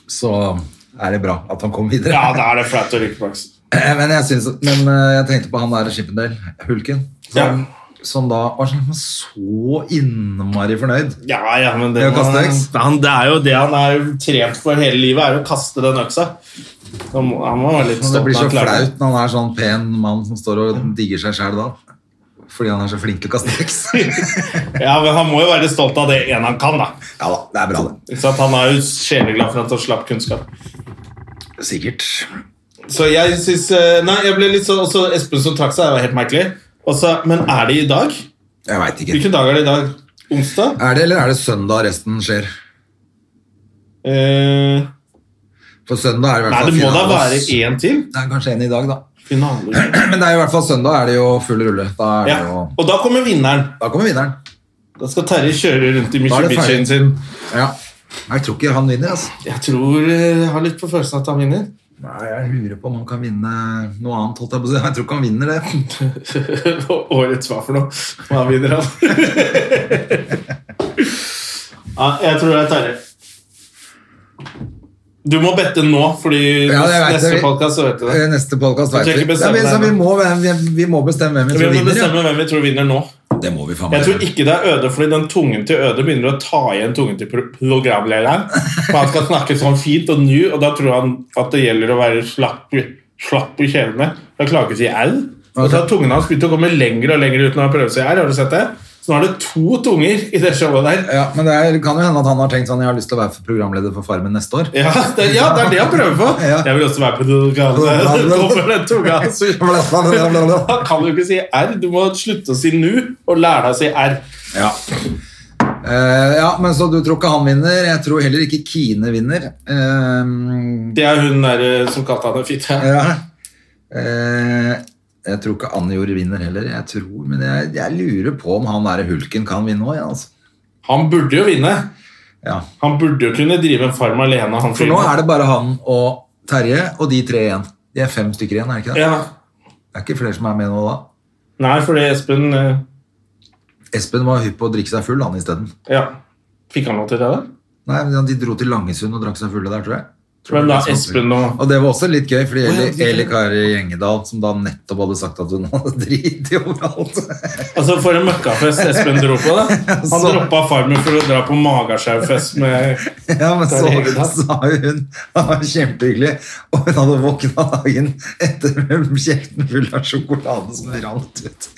[SPEAKER 1] så er det bra at han kom videre.
[SPEAKER 2] ja,
[SPEAKER 1] [LAUGHS]
[SPEAKER 2] da er det flaut å ryke på øksen.
[SPEAKER 1] Men, jeg synes, men eh, jeg tenkte på han der Skippendel, hulken, som, som da var sånn, så innmari fornøyd.
[SPEAKER 2] Ja, ja, men det,
[SPEAKER 1] Det å kaste øks?
[SPEAKER 2] han, det er jo det han er trent for hele livet, er å kaste den øksa. Han må, han må være litt
[SPEAKER 1] Og
[SPEAKER 2] stolt.
[SPEAKER 1] det blir så
[SPEAKER 2] når han klarer Mm. det.
[SPEAKER 1] flaut når han er sånn pen mann som står og digger seg sjæl da. Fordi han er så flink til å kaste øks.
[SPEAKER 2] [LAUGHS] Ja, men Han må jo være stolt av det en han kan. da
[SPEAKER 1] Ja da, det er bra, det.
[SPEAKER 2] Ikke sant? Han er jo sjeleglad for at han slapp kunnskap.
[SPEAKER 1] Sikkert.
[SPEAKER 2] Så jeg synes, eh, Nei, jeg ble litt sånn Også Espen som trakk seg, det var helt merkelig. Og så- men er det i dag?
[SPEAKER 1] Jeg veit ikke.
[SPEAKER 2] Hvilken dag er det i dag? Onsdag?
[SPEAKER 1] Er det, eller er det søndag resten skjer?
[SPEAKER 2] Eh,
[SPEAKER 1] For søndag er det i hvert
[SPEAKER 2] nei,
[SPEAKER 1] fall
[SPEAKER 2] det må da
[SPEAKER 1] finale.
[SPEAKER 2] være én til.
[SPEAKER 1] Det er kanskje en i dag, da. [CLEARS THROAT]
[SPEAKER 2] Finale.
[SPEAKER 1] Men det er jo i hvert fall søndag er det jo full rulle. Da, er det
[SPEAKER 2] Ja.
[SPEAKER 1] jo,
[SPEAKER 2] Og da kommer vinneren.
[SPEAKER 1] da kommer vinneren.
[SPEAKER 2] Da skal Terje kjøre rundt i
[SPEAKER 1] Da er det
[SPEAKER 2] Mitsubishien
[SPEAKER 1] ferdig.
[SPEAKER 2] sin.
[SPEAKER 1] Ja. Jeg tror ikke han vinner, altså.
[SPEAKER 2] Jeg tror eh, jeg har litt på følelsen at han vinner.
[SPEAKER 1] Nei, Jeg lurer på om han kan vinne noe annet. holdt Jeg på å si. Jeg tror ikke han vinner det.
[SPEAKER 2] Og Årets [LAUGHS] hva for noe? Hva vinner han? [LAUGHS] ja, jeg tror det er Terje. Du må bette nå, fordi
[SPEAKER 1] Ja, jeg vet
[SPEAKER 2] neste
[SPEAKER 1] det.
[SPEAKER 2] podkast så vet du det.
[SPEAKER 1] Eh, Neste podkast
[SPEAKER 2] Jeg
[SPEAKER 1] vet
[SPEAKER 2] tror
[SPEAKER 1] vi.
[SPEAKER 2] ikke bestemme
[SPEAKER 1] Nei, men så
[SPEAKER 2] det.
[SPEAKER 1] vi, må, vi, vi må bestemme hvem vi
[SPEAKER 2] Vi
[SPEAKER 1] tror
[SPEAKER 2] må
[SPEAKER 1] vinner.
[SPEAKER 2] bestemme hvem vi tror vinner nå.
[SPEAKER 1] Ja. Det må vi faen
[SPEAKER 2] Jeg tror
[SPEAKER 1] meg.
[SPEAKER 2] ikke det er Øde, fordi den tungen til Øde begynner å ta igjen tungen til pro- programlederen. For han skal snakke sånn fint og nu, og da tror han at det gjelder å være slapp, i- slapp i kjevene. Da klarer han ikke å si au. Og så har tungen hans begynt å komme lenger og lenger ut når han prøver å si au. Har du sett det? Så nå er det to tunger i det showet der.
[SPEAKER 1] Ja, men det er, kan jo hende at han har tenkt sånn Jeg har lyst til å være programleder for Farmen neste år.
[SPEAKER 2] Ja, det, ja, det er det han prøver på.
[SPEAKER 1] Ja.
[SPEAKER 2] Jeg vil også være på [LAUGHS] den
[SPEAKER 1] [LAUGHS]
[SPEAKER 2] tunga. Så Da kan du ikke si R. Du må slutte å si nu og lære deg å si R.
[SPEAKER 1] Ja. Eh, ja, men så du tror ikke han vinner? Jeg tror heller ikke Kine vinner. Eh,
[SPEAKER 2] Det er hun der eh, som kalte han en fitte.
[SPEAKER 1] ja. Eh, jeg tror ikke Anjor vinner heller. Jeg tror, Men jeg, jeg lurer på om han der hulken kan vinne òg. Ja, altså.
[SPEAKER 2] Han burde jo vinne.
[SPEAKER 1] ja.
[SPEAKER 2] Han burde jo kunne drive en farm alene. Han
[SPEAKER 1] For nå er det bare han og Terje og de tre igjen. De er fem stykker igjen, er det ikke det?
[SPEAKER 2] ja.
[SPEAKER 1] Det er ikke flere som er med nå da.
[SPEAKER 2] Nei, fordi Espen eh,
[SPEAKER 1] Espen var hypp på å drikke seg full han isteden.
[SPEAKER 2] Ja. Fikk han lov til det, da?
[SPEAKER 1] Nei, men De dro til Langesund og drakk seg fulle der, tror jeg. Tror
[SPEAKER 2] Hvem
[SPEAKER 1] jeg
[SPEAKER 2] da?
[SPEAKER 1] det er sant.
[SPEAKER 2] Espen og
[SPEAKER 1] Og det var også litt gøy, fordi
[SPEAKER 2] Å, ja,
[SPEAKER 1] Eli,
[SPEAKER 2] det er-
[SPEAKER 1] Eli Kari Gjengedal, som da nettopp hadde sagt at hun hadde driti overalt [LAUGHS]
[SPEAKER 2] Altså For en møkkafest Espen dro på. da Han
[SPEAKER 1] Så-
[SPEAKER 2] droppa Farmen for å dra på magasjaufest
[SPEAKER 1] [LAUGHS]
[SPEAKER 2] med
[SPEAKER 1] Ja, men så
[SPEAKER 2] Kari Gjengedal.
[SPEAKER 1] [LAUGHS] sa hun Det var kjempehyggelig. Og hun hadde våkna dagen etter med kjeften full av sjokolade som rant ut.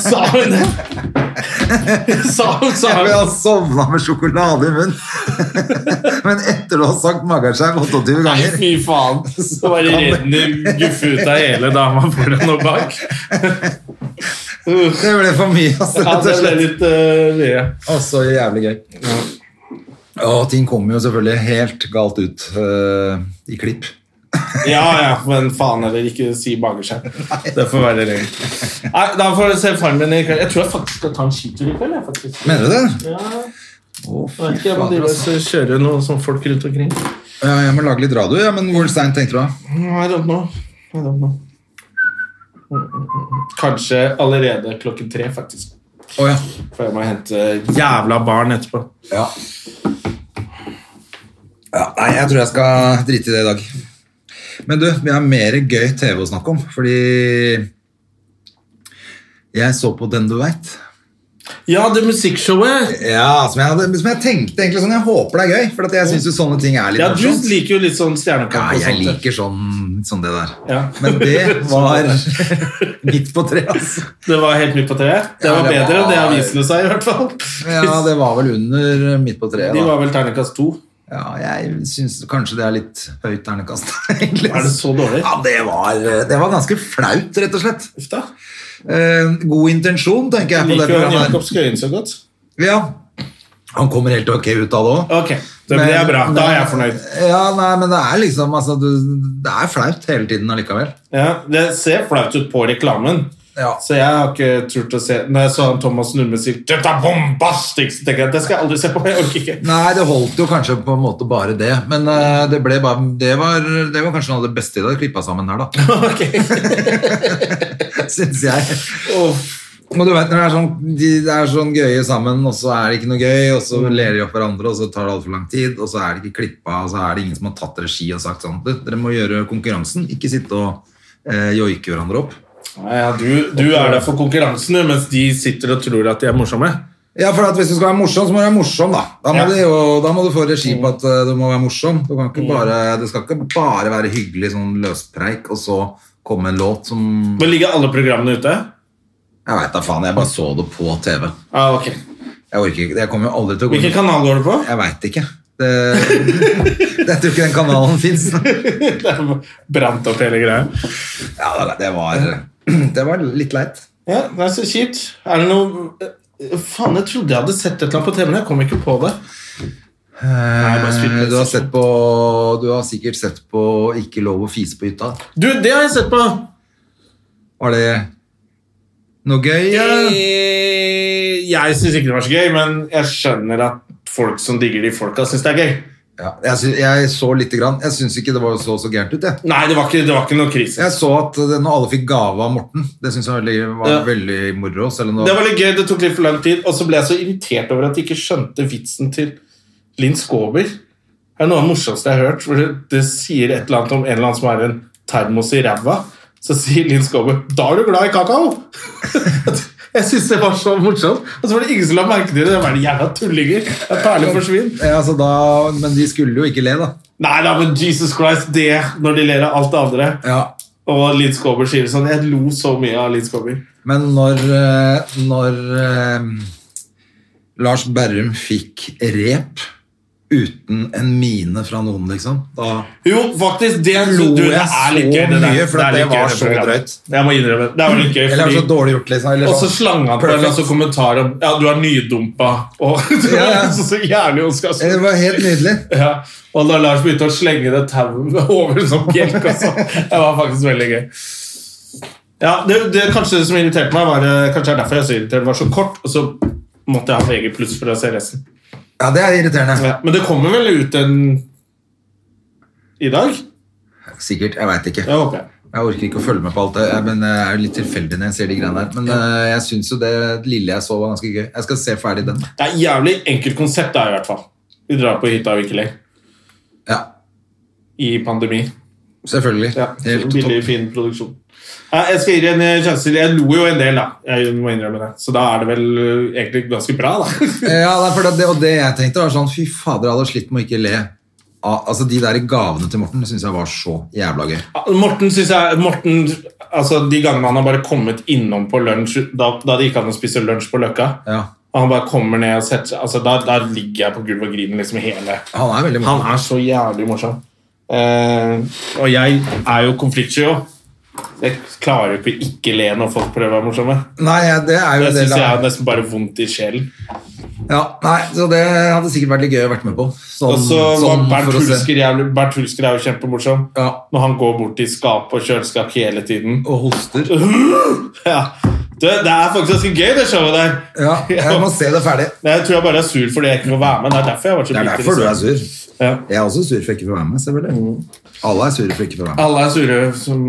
[SPEAKER 2] Sa hun det? Sa hun, sa
[SPEAKER 1] Jeg
[SPEAKER 2] hun.
[SPEAKER 1] har sovna med sjokolade i munnen. [LAUGHS] Men etter å ha sagt magasjau 28
[SPEAKER 2] Nei,
[SPEAKER 1] ganger
[SPEAKER 2] fy faen. Så bare renner guffe ut av hele dama foran og
[SPEAKER 1] [LAUGHS]
[SPEAKER 2] bak. Uh,
[SPEAKER 1] Det ble for mye, altså,
[SPEAKER 2] Ja, det
[SPEAKER 1] rett og
[SPEAKER 2] ble
[SPEAKER 1] slett.
[SPEAKER 2] litt eh, mye.
[SPEAKER 1] Og så jævlig gøy. Og ting kommer jo selvfølgelig helt galt ut eh, i klipp.
[SPEAKER 2] Ja ja, men faen heller, ikke si magesjau. Det får være regel. Nei, Da får du se Farmen i kveld. Jeg tror jeg faktisk skal ta en skitur i kveld. Jeg, faktisk.
[SPEAKER 1] Mener du det?
[SPEAKER 2] Ja,
[SPEAKER 1] Å, fy
[SPEAKER 2] jeg vet ikke, jeg må
[SPEAKER 1] fader,
[SPEAKER 2] drive
[SPEAKER 1] altså.
[SPEAKER 2] og kjøre noen sånne folk rundt omkring.
[SPEAKER 1] Ja, jeg må lage litt radio, ja, men hvor seint tenkte du da?
[SPEAKER 2] Mm, I don't know. I don't know. Mm, Kanskje allerede klokken tre, faktisk.
[SPEAKER 1] Å ja.
[SPEAKER 2] For jeg må hente jævla barn etterpå.
[SPEAKER 1] ja. Ja, Nei, jeg tror jeg skal drite i det i dag. Men du, vi har mer gøy TV å snakke om, fordi jeg så på Den du veit.
[SPEAKER 2] Ja, det musikkshowet!
[SPEAKER 1] Ja, som jeg, hadde, som jeg tenkte egentlig sånn. Jeg håper det er gøy, for at jeg syns jo sånne ting er litt
[SPEAKER 2] Ja, du
[SPEAKER 1] morsomt.
[SPEAKER 2] liker jo litt sånn stjernekamp
[SPEAKER 1] Ja,
[SPEAKER 2] og
[SPEAKER 1] jeg
[SPEAKER 2] sånt.
[SPEAKER 1] liker sånn, sånn det der.
[SPEAKER 2] Ja.
[SPEAKER 1] Men [LAUGHS] det var
[SPEAKER 2] [LAUGHS]
[SPEAKER 1] midt på treet, altså.
[SPEAKER 2] Det var helt nytt på treet. Det
[SPEAKER 1] Ja,
[SPEAKER 2] var
[SPEAKER 1] det
[SPEAKER 2] bedre enn det
[SPEAKER 1] var-
[SPEAKER 2] avisene sa, i hvert fall.
[SPEAKER 1] Ja, det var vel under eh, midt på treet,
[SPEAKER 2] De
[SPEAKER 1] da.
[SPEAKER 2] var vel terningkast to.
[SPEAKER 1] Ja, jeg syns kanskje det er litt høyt ternekast, [LAUGHS] egentlig.
[SPEAKER 2] Er det så dårlig?
[SPEAKER 1] Ja, det var, eh, det var ganske flaut, rett og slett.
[SPEAKER 2] Uff da.
[SPEAKER 1] Eh, god intensjon, tenker jeg. på det
[SPEAKER 2] Liker jo han
[SPEAKER 1] programmet.
[SPEAKER 2] Jakob Skøyen så godt.
[SPEAKER 1] her. Ja. Han kommer helt ok ut av det òg.
[SPEAKER 2] Ok, det, det er bra. Da er jeg fornøyd.
[SPEAKER 1] Ja, nei, men det er liksom altså, du, Det er flaut hele tiden allikevel.
[SPEAKER 2] Ja, det ser flaut ut på reklamen.
[SPEAKER 1] Ja.
[SPEAKER 2] Så jeg har ikke turt å se Når jeg så han Thomas Numme si 'Dette er bombastisk', så tenker jeg at det skal jeg aldri se på. Jeg orker ikke.
[SPEAKER 1] Nei, det holdt jo kanskje på en måte bare det. Men eh, det, ble bare, det, var, det var kanskje noe av det beste de hadde klippa sammen her, da.
[SPEAKER 2] [LAUGHS]
[SPEAKER 1] [LAUGHS]
[SPEAKER 2] Ok.
[SPEAKER 1] Syns jeg.
[SPEAKER 2] Åh,
[SPEAKER 1] Og du vet, når det er, sånn, de, det er sånn gøye sammen, og så er det ikke noe gøy, og så ler de opp hverandre, og så tar det altfor lang tid, og så er det ikke klippa, og så er det ingen som har tatt regi og sagt sånn «Du, Dere må gjøre konkurransen, ikke sitte og eh, joike hverandre opp.
[SPEAKER 2] Nei, ja, du, du er der for konkurransen, du, mens de sitter og tror at de er morsomme.
[SPEAKER 1] Ja, for at hvis du skal være morsom, så må du være morsom, da. Da må,
[SPEAKER 2] Ja. Mm.
[SPEAKER 1] du, jo, da må du få regi på at eh, du må være morsom. Du kan ikke bare, det skal ikke bare være hyggelig sånn løspreik, og så komme en låt som
[SPEAKER 2] Nå ligger alle programmene ute.
[SPEAKER 1] Jeg veit da faen, jeg bare så det på TV.
[SPEAKER 2] Ah, ok.
[SPEAKER 1] Jeg orker ikke, jeg kommer jo aldri til å gå
[SPEAKER 2] Hvilken kanal går du på? [LAUGHS]
[SPEAKER 1] Jeg veit ikke. Det, [LAUGHS] jeg tror ikke den kanalen
[SPEAKER 2] [LAUGHS]
[SPEAKER 1] fins.
[SPEAKER 2] Det er Brant opp hele greia.
[SPEAKER 1] Ja, det var, det var litt leit.
[SPEAKER 2] Ja, det er så kjipt. Er det noe Faen, jeg trodde jeg hadde sett et eller annet på TV, men jeg kom ikke på det. bare sånn. spill
[SPEAKER 1] Eh,
[SPEAKER 2] PlayStation.
[SPEAKER 1] Du har, sett på, du har sikkert sett på Ikke lov å fise på hytta.
[SPEAKER 2] Du, det har jeg sett på!
[SPEAKER 1] Var det noe gøy? eller?
[SPEAKER 2] Eh, Jeg syns ikke det var så gøy, men jeg skjønner at folk som digger de folka, syns det er gøy.
[SPEAKER 1] Ja, jeg, sy jeg så lite grann. Jeg syns ikke det var så så gærent ut. Jeg.
[SPEAKER 2] Nei, det var ikke, det var ikke noe krise.
[SPEAKER 1] jeg så at det- når alle fikk gave av Morten, det syns jeg var veldig, var
[SPEAKER 2] Ja.
[SPEAKER 1] veldig moro. Selv om det
[SPEAKER 2] Det
[SPEAKER 1] var,
[SPEAKER 2] var litt gøy, det tok litt for lang tid, og så ble jeg så irritert over at de ikke skjønte vitsen til Linn Skåber. Det er noe av det morsomste jeg har hørt. For det, det sier et eller annet om en eller annen som har en termos i ræva. Så sier Linn Skåber 'Da er du glad i kakao'! jeg syns det var så morsomt. Og så var det ingen som la merke til det. Det var de jævla tullinger. Det er perler for svin.
[SPEAKER 1] ja, så da, men de skulle jo ikke le, da.
[SPEAKER 2] Nei da, men Jesus Christ, det når de ler av alt det andre.
[SPEAKER 1] Ja,
[SPEAKER 2] Og Linn Skåber sier det sånn. Jeg lo så mye av Linn Skåber.
[SPEAKER 1] Men når, eh, når eh, Lars Berrum fikk rep uten en mine fra noen, liksom. Da,
[SPEAKER 2] Jo, faktisk, det,
[SPEAKER 1] Lo
[SPEAKER 2] du, det
[SPEAKER 1] jeg
[SPEAKER 2] er litt
[SPEAKER 1] så
[SPEAKER 2] gøy. Det, der.
[SPEAKER 1] mye, for
[SPEAKER 2] er
[SPEAKER 1] det
[SPEAKER 2] litt gøy,
[SPEAKER 1] var så
[SPEAKER 2] programmet.
[SPEAKER 1] drøyt.
[SPEAKER 2] Jeg må innrømme, det var litt gøy.
[SPEAKER 1] eller
[SPEAKER 2] fordi-
[SPEAKER 1] så dårlig gjort, liksom. Eller
[SPEAKER 2] og så
[SPEAKER 1] sånn.
[SPEAKER 2] slang han på en
[SPEAKER 1] Perfect.
[SPEAKER 2] altså, kommentar om Ja, du er nydumpa. Og, [LAUGHS]
[SPEAKER 1] Ja, ja.
[SPEAKER 2] så, så jævlig hun skal
[SPEAKER 1] Eh, Det var helt nydelig.
[SPEAKER 2] Ja, og da Lars begynte å slenge det tauet [LAUGHS] over som bjelk og sånn. Det var faktisk veldig gøy. Ja, det, det kanskje det som irriterte meg, var eh, Kanskje det er derfor jeg er så irritert. Det var så kort, og så måtte jeg ha VG pluss for å se resten.
[SPEAKER 1] Ja, det er irriterende.
[SPEAKER 2] Ja, men det kommer vel ut en i dag?
[SPEAKER 1] Sikkert. Jeg veit ikke.
[SPEAKER 2] Det håper jeg.
[SPEAKER 1] Jeg orker ikke å følge med på alt det, jeg- men jeg er jo litt tilfeldig når jeg ser de greiene her. Men eh, jeg syns jo det lille jeg så, var ganske gøy. Jeg skal se ferdig den.
[SPEAKER 2] Det er jævlig enkelt konsept, det er i hvert fall. Vi drar på hytta og ikke lenger.
[SPEAKER 1] Ja,
[SPEAKER 2] I pandemi.
[SPEAKER 1] selvfølgelig.
[SPEAKER 2] Ja,
[SPEAKER 1] Helt
[SPEAKER 2] billig,
[SPEAKER 1] topp.
[SPEAKER 2] fin produksjon. Ja, jeg skal gi deg en eh, sjanse til. Jeg lo jo en del, da. Jeg må innrømme det. Så da er det vel eh, egentlig ganske bra, da. [LAUGHS]
[SPEAKER 1] Eh, Ja, nei, for det, og det jeg tenkte, var sånn Fy fader, jeg hadde slitt med å ikke le. av- Altså, De der gavene til Morten syns jeg var så jævla gøy.
[SPEAKER 2] Ja, Morten synes jeg Morten, altså De gangene han har bare kommet innom på lunsj Da, da det gikk an å spise lunsj på Løkka
[SPEAKER 1] Ja,
[SPEAKER 2] Og han bare kommer ned og setter seg altså, da, da ligger jeg på gulvet og griner liksom hele
[SPEAKER 1] Han er veldig
[SPEAKER 2] Han
[SPEAKER 1] morsom.
[SPEAKER 2] er så jævlig morsom Eh, Og jeg er jo konfliktsky også Jeg klarer jo ikke å ikke le når folk prøver å være morsomme
[SPEAKER 1] Nei, ja, det er jo
[SPEAKER 2] Jeg
[SPEAKER 1] en
[SPEAKER 2] synes
[SPEAKER 1] del
[SPEAKER 2] jeg er
[SPEAKER 1] av
[SPEAKER 2] nesten bare vondt i sjelen
[SPEAKER 1] ja, Nei, så det hadde sikkert vært litt gøy å vært med på. Sånn,
[SPEAKER 2] Og så var
[SPEAKER 1] sånn
[SPEAKER 2] Bernt
[SPEAKER 1] for å se.
[SPEAKER 2] Hulsker jævlig Bernt Hulsker er jo kjempemorsom
[SPEAKER 1] Ja,
[SPEAKER 2] Når han går bort til skap og kjøleskap hele tiden
[SPEAKER 1] Og hoster.
[SPEAKER 2] Ja. Det, det er faktisk ganske gøy, det showet der.
[SPEAKER 1] Ja,
[SPEAKER 2] [LAUGHS]
[SPEAKER 1] jeg må se det ferdig.
[SPEAKER 2] Nei, Jeg tror jeg bare er sur fordi jeg ikke får være med. Det er derfor jeg har vært så
[SPEAKER 1] Det er
[SPEAKER 2] bitter,
[SPEAKER 1] derfor du er
[SPEAKER 2] liksom.
[SPEAKER 1] sur.
[SPEAKER 2] Ja.
[SPEAKER 1] Jeg er også sur for ikke å få være med,
[SPEAKER 2] Mm.
[SPEAKER 1] selvfølgelig. Alle er sure for ikke å få være med.
[SPEAKER 2] Alle er sure som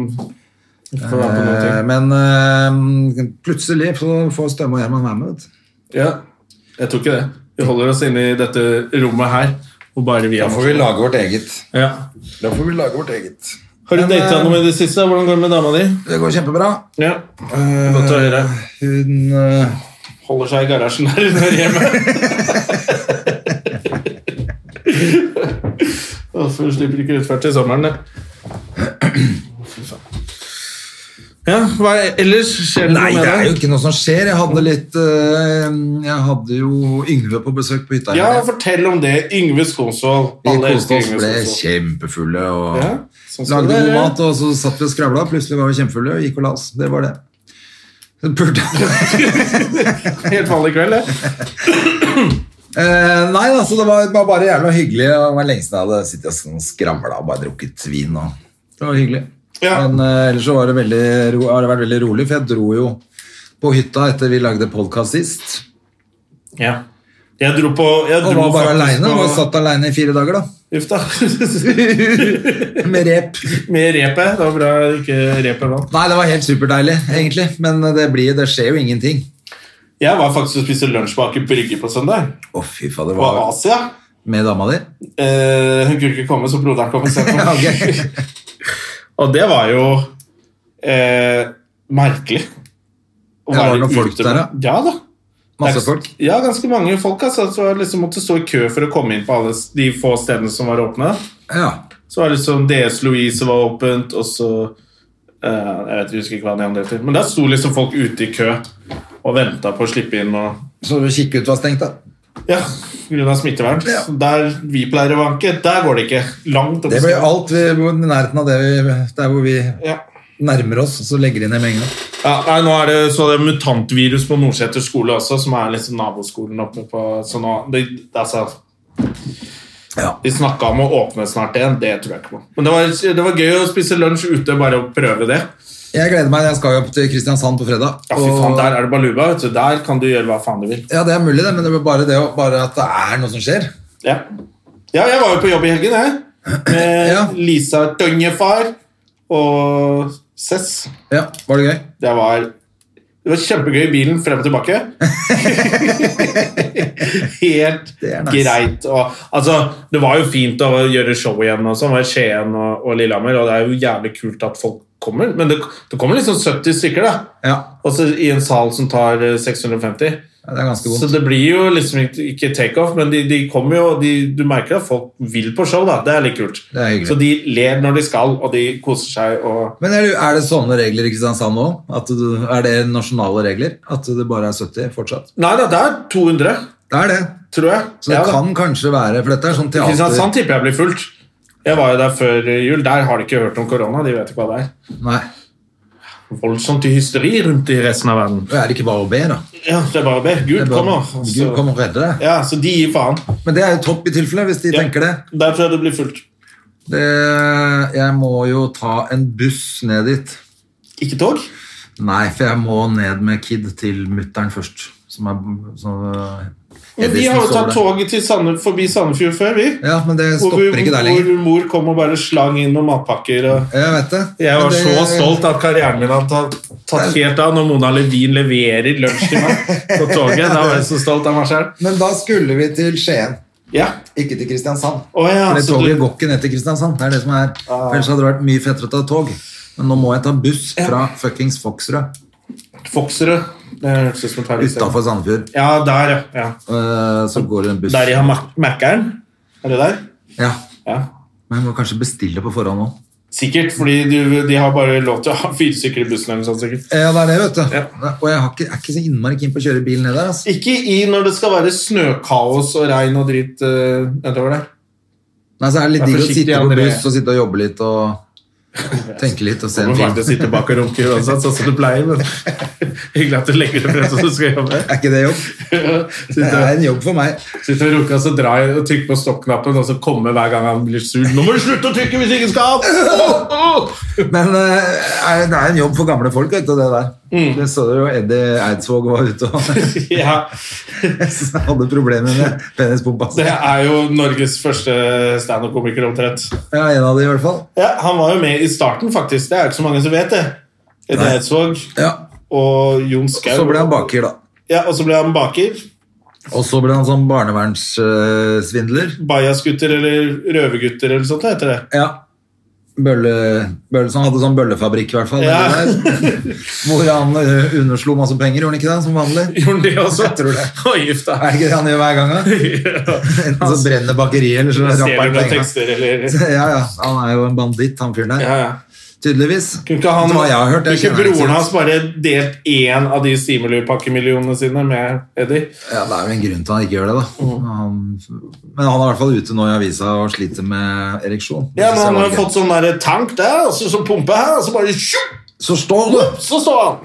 [SPEAKER 2] ikke får være med på noen
[SPEAKER 1] Eh,
[SPEAKER 2] ting.
[SPEAKER 1] Men eh, plutselig så får Stømme og Gjerman være med. Vet. du.
[SPEAKER 2] Ja. Jeg tror ikke det. Vi holder oss inne i dette rommet her. Og bare vi er morsomme.
[SPEAKER 1] lage vårt eget.
[SPEAKER 2] ja.
[SPEAKER 1] Da får vi lage vårt eget.
[SPEAKER 2] Har du
[SPEAKER 1] Men,
[SPEAKER 2] data
[SPEAKER 1] eh,
[SPEAKER 2] noe i det siste? Hvordan går det med dama di?
[SPEAKER 1] Det går kjempebra.
[SPEAKER 2] Ja.
[SPEAKER 1] Eh,
[SPEAKER 2] Godt å høre.
[SPEAKER 1] Hun eh,
[SPEAKER 2] Holder seg i garasjen her under [LAUGHS] hjemmet. Hvorfor slipper ikke utført til sommeren, det? Fy faen. Ja, hva er- ellers? Skjer det
[SPEAKER 1] Nei,
[SPEAKER 2] noe
[SPEAKER 1] det er
[SPEAKER 2] med
[SPEAKER 1] jo ikke noe som skjer. Jeg hadde litt eh, Jeg hadde jo Yngve på besøk på hytta.
[SPEAKER 2] Ja,
[SPEAKER 1] her.
[SPEAKER 2] fortell om det. Yngve Skonsvold.
[SPEAKER 1] vi
[SPEAKER 2] Alle
[SPEAKER 1] koste
[SPEAKER 2] elsker Yngve
[SPEAKER 1] oss, ble
[SPEAKER 2] Skonsvold.
[SPEAKER 1] kjempefulle og
[SPEAKER 2] Ja, sånn skal
[SPEAKER 1] lagde
[SPEAKER 2] det
[SPEAKER 1] god
[SPEAKER 2] være.
[SPEAKER 1] mat. Og så satt vi og skravla, plutselig var vi kjempefulle og gikk og la oss. Det var det. Så burde-
[SPEAKER 2] Helt vanlig kveld, det.
[SPEAKER 1] Eh, nei, altså, det var, var bare jævla hyggelig. og Det var lenge siden jeg hadde sittet og sånn skravla og bare drukket vin. Og... Det var hyggelig.
[SPEAKER 2] Ja.
[SPEAKER 1] Men eh, ellers så var det veldig, ro- har det vært veldig rolig, for jeg dro jo på hytta etter vi lagde podkast sist.
[SPEAKER 2] ja. Jeg dro på jeg
[SPEAKER 1] Og
[SPEAKER 2] dro
[SPEAKER 1] var bare
[SPEAKER 2] faktisk
[SPEAKER 1] aleine.
[SPEAKER 2] på-
[SPEAKER 1] Var satt aleine i fire dager, da.
[SPEAKER 2] Uff da.
[SPEAKER 1] Med rep.
[SPEAKER 2] [LAUGHS] Med repet. Det var bra ikke repet vant.
[SPEAKER 1] Nei, det var helt superdeilig, egentlig. Men det, blir, det skjer jo ingenting.
[SPEAKER 2] Jeg var faktisk og spiste lunsj på Aker Brygge på søndag.
[SPEAKER 1] Å, fy fader.
[SPEAKER 2] På
[SPEAKER 1] Var
[SPEAKER 2] Asia.
[SPEAKER 1] med dama di?
[SPEAKER 2] Eh, hun kunne ikke komme, så broderen kom
[SPEAKER 1] [LAUGHS]
[SPEAKER 2] istedenfor.
[SPEAKER 1] Ja,
[SPEAKER 2] meg.
[SPEAKER 1] ok.
[SPEAKER 2] Og det var jo eh, merkelig. Å
[SPEAKER 1] Ja, var det
[SPEAKER 2] være
[SPEAKER 1] noen folk
[SPEAKER 2] ute
[SPEAKER 1] der,
[SPEAKER 2] med- Ja da.
[SPEAKER 1] Masse
[SPEAKER 2] Det er-
[SPEAKER 1] folk?
[SPEAKER 2] Ja, ganske mange folk. Altså, så jeg liksom måtte stå i kø for å komme inn på alle s- de få stedene som var åpne.
[SPEAKER 1] Ja.
[SPEAKER 2] Så var det liksom DS Louise var åpent, og så eh, Jeg vet, jeg husker ikke hva den andre heter. Men der sto liksom folk ute i kø og venta på å slippe inn. og
[SPEAKER 1] Så Kikkut var stengt, da?
[SPEAKER 2] ja, pga. smittevern.
[SPEAKER 1] Ja.
[SPEAKER 2] Så Der vi pleier å vanke, der går det ikke. Langt opp
[SPEAKER 1] Det blir alt vi, i nærheten av det vi, der hvor vi
[SPEAKER 2] ja.
[SPEAKER 1] nærmer oss, så legger de ned med en gang.
[SPEAKER 2] ja, nei, Nå er det så det er mutantvirus på Nordseter skole også, som er liksom naboskolen oppe på Så nå det, det, altså,
[SPEAKER 1] Ja.
[SPEAKER 2] De snakka om å åpne snart igjen, det tror jeg ikke på. Men det var, det var gøy å spise lunsj ute, bare å prøve det.
[SPEAKER 1] Jeg gleder meg. Jeg skal jo opp til Kristiansand på fredag.
[SPEAKER 2] Ja, fy
[SPEAKER 1] og-
[SPEAKER 2] faen, Der er det baluba. vet du. Der kan du gjøre hva faen du vil.
[SPEAKER 1] Ja, det er mulig, det, men det er bare det å- bare at det er noe som skjer.
[SPEAKER 2] Ja, ja jeg var jo på jobb i helgen, jeg. Med
[SPEAKER 1] Ja.
[SPEAKER 2] Lisa Døgnefar og Cess.
[SPEAKER 1] Ja, Var det gøy?
[SPEAKER 2] Det var, det var kjempegøy i bilen frem og
[SPEAKER 1] [LAUGHS]
[SPEAKER 2] tilbake. Helt
[SPEAKER 1] Det er nice.
[SPEAKER 2] greit. Og, altså, det var jo fint å gjøre show igjen. Og sånn, det var i Skien og, og Lillehammer, og det er jo jævlig kult at folk kommer. Men det, det kommer liksom 70 stykker, da.
[SPEAKER 1] Ja,
[SPEAKER 2] Og så i en sal som tar eh, 650.
[SPEAKER 1] ja, det er ganske
[SPEAKER 2] Så
[SPEAKER 1] vondt.
[SPEAKER 2] det blir jo liksom ikke- ikke takeoff, men de, de kommer jo og de, Du merker at folk vil på show, da. Det er litt kult.
[SPEAKER 1] Det er hyggelig.
[SPEAKER 2] Så de ler når de skal, og de koser seg og
[SPEAKER 1] Men er, det- er det sånne regler i Kristiansand nå? At du, er det nasjonale regler? At det bare er 70 fortsatt?
[SPEAKER 2] Nei da, det er 200.
[SPEAKER 1] Det er det.
[SPEAKER 2] tror jeg.
[SPEAKER 1] Så det
[SPEAKER 2] Ja, da.
[SPEAKER 1] kan kanskje være For dette er sånn
[SPEAKER 2] I
[SPEAKER 1] teater...
[SPEAKER 2] Kristiansand tipper jeg blir fullt. Jeg var jo der før jul. Der har de ikke hørt om korona. De vet ikke hva det er.
[SPEAKER 1] Nei.
[SPEAKER 2] Voldsomt til hysteri rundt i resten av verden.
[SPEAKER 1] Det er ikke bare å be, da.
[SPEAKER 2] Ja, det er bare å be.
[SPEAKER 1] Det
[SPEAKER 2] Gud
[SPEAKER 1] er bare,
[SPEAKER 2] kommer.
[SPEAKER 1] Gud
[SPEAKER 2] Så,
[SPEAKER 1] kommer og redder deg.
[SPEAKER 2] ja, så de gir faen.
[SPEAKER 1] Men det er jo topp i tilfelle, hvis de
[SPEAKER 2] Altså- Ja.
[SPEAKER 1] tenker det.
[SPEAKER 2] Der tror jeg det blir fullt.
[SPEAKER 1] det. Jeg må jo ta en buss ned dit.
[SPEAKER 2] Ikke tog?
[SPEAKER 1] Nei, for jeg må ned med Kid til mutter'n først. Som er som,
[SPEAKER 2] Men vi har jo tatt toget til Sande, forbi Sandefjord før, vi.
[SPEAKER 1] Ja, men det
[SPEAKER 2] Hvor,
[SPEAKER 1] stopper ikke der lenger.
[SPEAKER 2] hvor mor kom og bare slang inn noen matpakker. Og
[SPEAKER 1] Jeg vet det.
[SPEAKER 2] jeg
[SPEAKER 1] Men
[SPEAKER 2] var
[SPEAKER 1] det,
[SPEAKER 2] så stolt at karrieren min hadde tatt, tatt helt av når Mona Levin leverer lunsj til meg
[SPEAKER 1] [LAUGHS]
[SPEAKER 2] på toget. Da var jeg så stolt av meg selv.
[SPEAKER 1] Men da skulle vi til Skien,
[SPEAKER 2] Ja.
[SPEAKER 1] ikke til Kristiansand.
[SPEAKER 2] Å ja,
[SPEAKER 1] For det
[SPEAKER 2] så du-
[SPEAKER 1] toget går ikke ned til Kristiansand. Det er det som er.
[SPEAKER 2] Ah.
[SPEAKER 1] Ellers hadde det vært mye fettere å ta tog. Men nå må jeg ta buss fra fuckings Foxrød
[SPEAKER 2] Foxerud. Det hørtes ut som et herlig sted.
[SPEAKER 1] utafor Sandefjord.
[SPEAKER 2] Ja, der, ja. ja.
[SPEAKER 1] Eh, Så går det en buss.
[SPEAKER 2] Der de har Mac- Mac-eren. Er det der?
[SPEAKER 1] Ja.
[SPEAKER 2] Ja.
[SPEAKER 1] Men jeg må kanskje bestille på forhånd nå.
[SPEAKER 2] Sikkert, fordi du, de har bare lov til å ha fire stykker i bussen. eller noe sånt, sikkert.
[SPEAKER 1] Ja, det er det, vet du.
[SPEAKER 2] Ja.
[SPEAKER 1] Og jeg har ikke, er ikke så innmari keen på å kjøre bil ned der. Altså.
[SPEAKER 2] Ikke i når det skal være snøkaos og regn og dritt eh, nedover der.
[SPEAKER 1] Nei, så er det
[SPEAKER 2] Vær
[SPEAKER 1] litt digg å
[SPEAKER 2] forsiktig,
[SPEAKER 1] sitte på
[SPEAKER 2] André.
[SPEAKER 1] buss og sitte og jobbe litt og tenke litt og se
[SPEAKER 2] Du
[SPEAKER 1] en
[SPEAKER 2] kommer
[SPEAKER 1] film.
[SPEAKER 2] faktisk til å sitte bak og runke uansett, sånn som du pleier. Men [LAUGHS] hyggelig at du legger det frem som du skal jobbe.
[SPEAKER 1] [LAUGHS] Er ikke det jobb? Det
[SPEAKER 2] Sitte
[SPEAKER 1] er en jobb for meg.
[SPEAKER 2] sitte og runke og så dra i- og trykke på stoppknappen, og så komme hver gang han blir sur. 'Nå må du slutte å trykke hvis ikke skal!' Oh,
[SPEAKER 1] Men eh, er, det er en jobb for gamle folk, vet du, det der.
[SPEAKER 2] Mm.
[SPEAKER 1] Det så du jo Eddie Eidsvåg var ute og
[SPEAKER 2] [LAUGHS]
[SPEAKER 1] [LAUGHS]
[SPEAKER 2] Ja,
[SPEAKER 1] hadde problemer med penispumpa. si.
[SPEAKER 2] det er jo Norges første standup-komiker omtrent.
[SPEAKER 1] Ja, en av de i hvert fall.
[SPEAKER 2] Ja, han var jo med i starten, faktisk. Det er jo ikke så mange som vet det. Eddie
[SPEAKER 1] Nei.
[SPEAKER 2] Eidsvåg
[SPEAKER 1] Ja,
[SPEAKER 2] og Jon Skau.
[SPEAKER 1] Så ble han baker, da.
[SPEAKER 2] Ja, og så ble han baker.
[SPEAKER 1] Og så ble han sånn barnevernssvindler.
[SPEAKER 2] Bajasgutter eller røvergutter eller sånt heter det.
[SPEAKER 1] Ja. Bølle, bølle, så han hadde sånn bøllefabrikk, i hvert fall.
[SPEAKER 2] Ja.
[SPEAKER 1] eller der. [LAUGHS] Hvor han eh, underslo masse penger, gjorde han ikke det? Som vanlig.
[SPEAKER 2] Gjorde han det også?
[SPEAKER 1] Jeg tror det.
[SPEAKER 2] Og gifta.
[SPEAKER 1] Er det ikke det han gjør hver gang?
[SPEAKER 2] [LAUGHS]
[SPEAKER 1] da? Enten så brenner bakeriet, eller så rapper han
[SPEAKER 2] Stjeler noen
[SPEAKER 1] penger.
[SPEAKER 2] tekster eller
[SPEAKER 1] Ja, ja. Han er jo en banditt, han fyren der.
[SPEAKER 2] ja, ja.
[SPEAKER 1] Tydeligvis.
[SPEAKER 2] Kunne ikke, han,
[SPEAKER 1] Det var jeg har hørt,
[SPEAKER 2] kunne
[SPEAKER 1] jeg
[SPEAKER 2] ikke
[SPEAKER 1] kjenner ikke
[SPEAKER 2] broren
[SPEAKER 1] til.
[SPEAKER 2] hans bare delt én av de stimulipakkemillionene sine med Eddie?
[SPEAKER 1] Ja, Det er jo en grunn til han ikke gjør det, da.
[SPEAKER 2] Mm.
[SPEAKER 1] Han, men han er i hvert fall ute nå i avisa og sliter med ereksjon. Det
[SPEAKER 2] Ja, men
[SPEAKER 1] synes jeg
[SPEAKER 2] Han
[SPEAKER 1] var
[SPEAKER 2] har
[SPEAKER 1] gøy.
[SPEAKER 2] fått sånn der tank der, og så, så pumpe her, og så bare tjup,
[SPEAKER 1] Så står du!
[SPEAKER 2] så står han!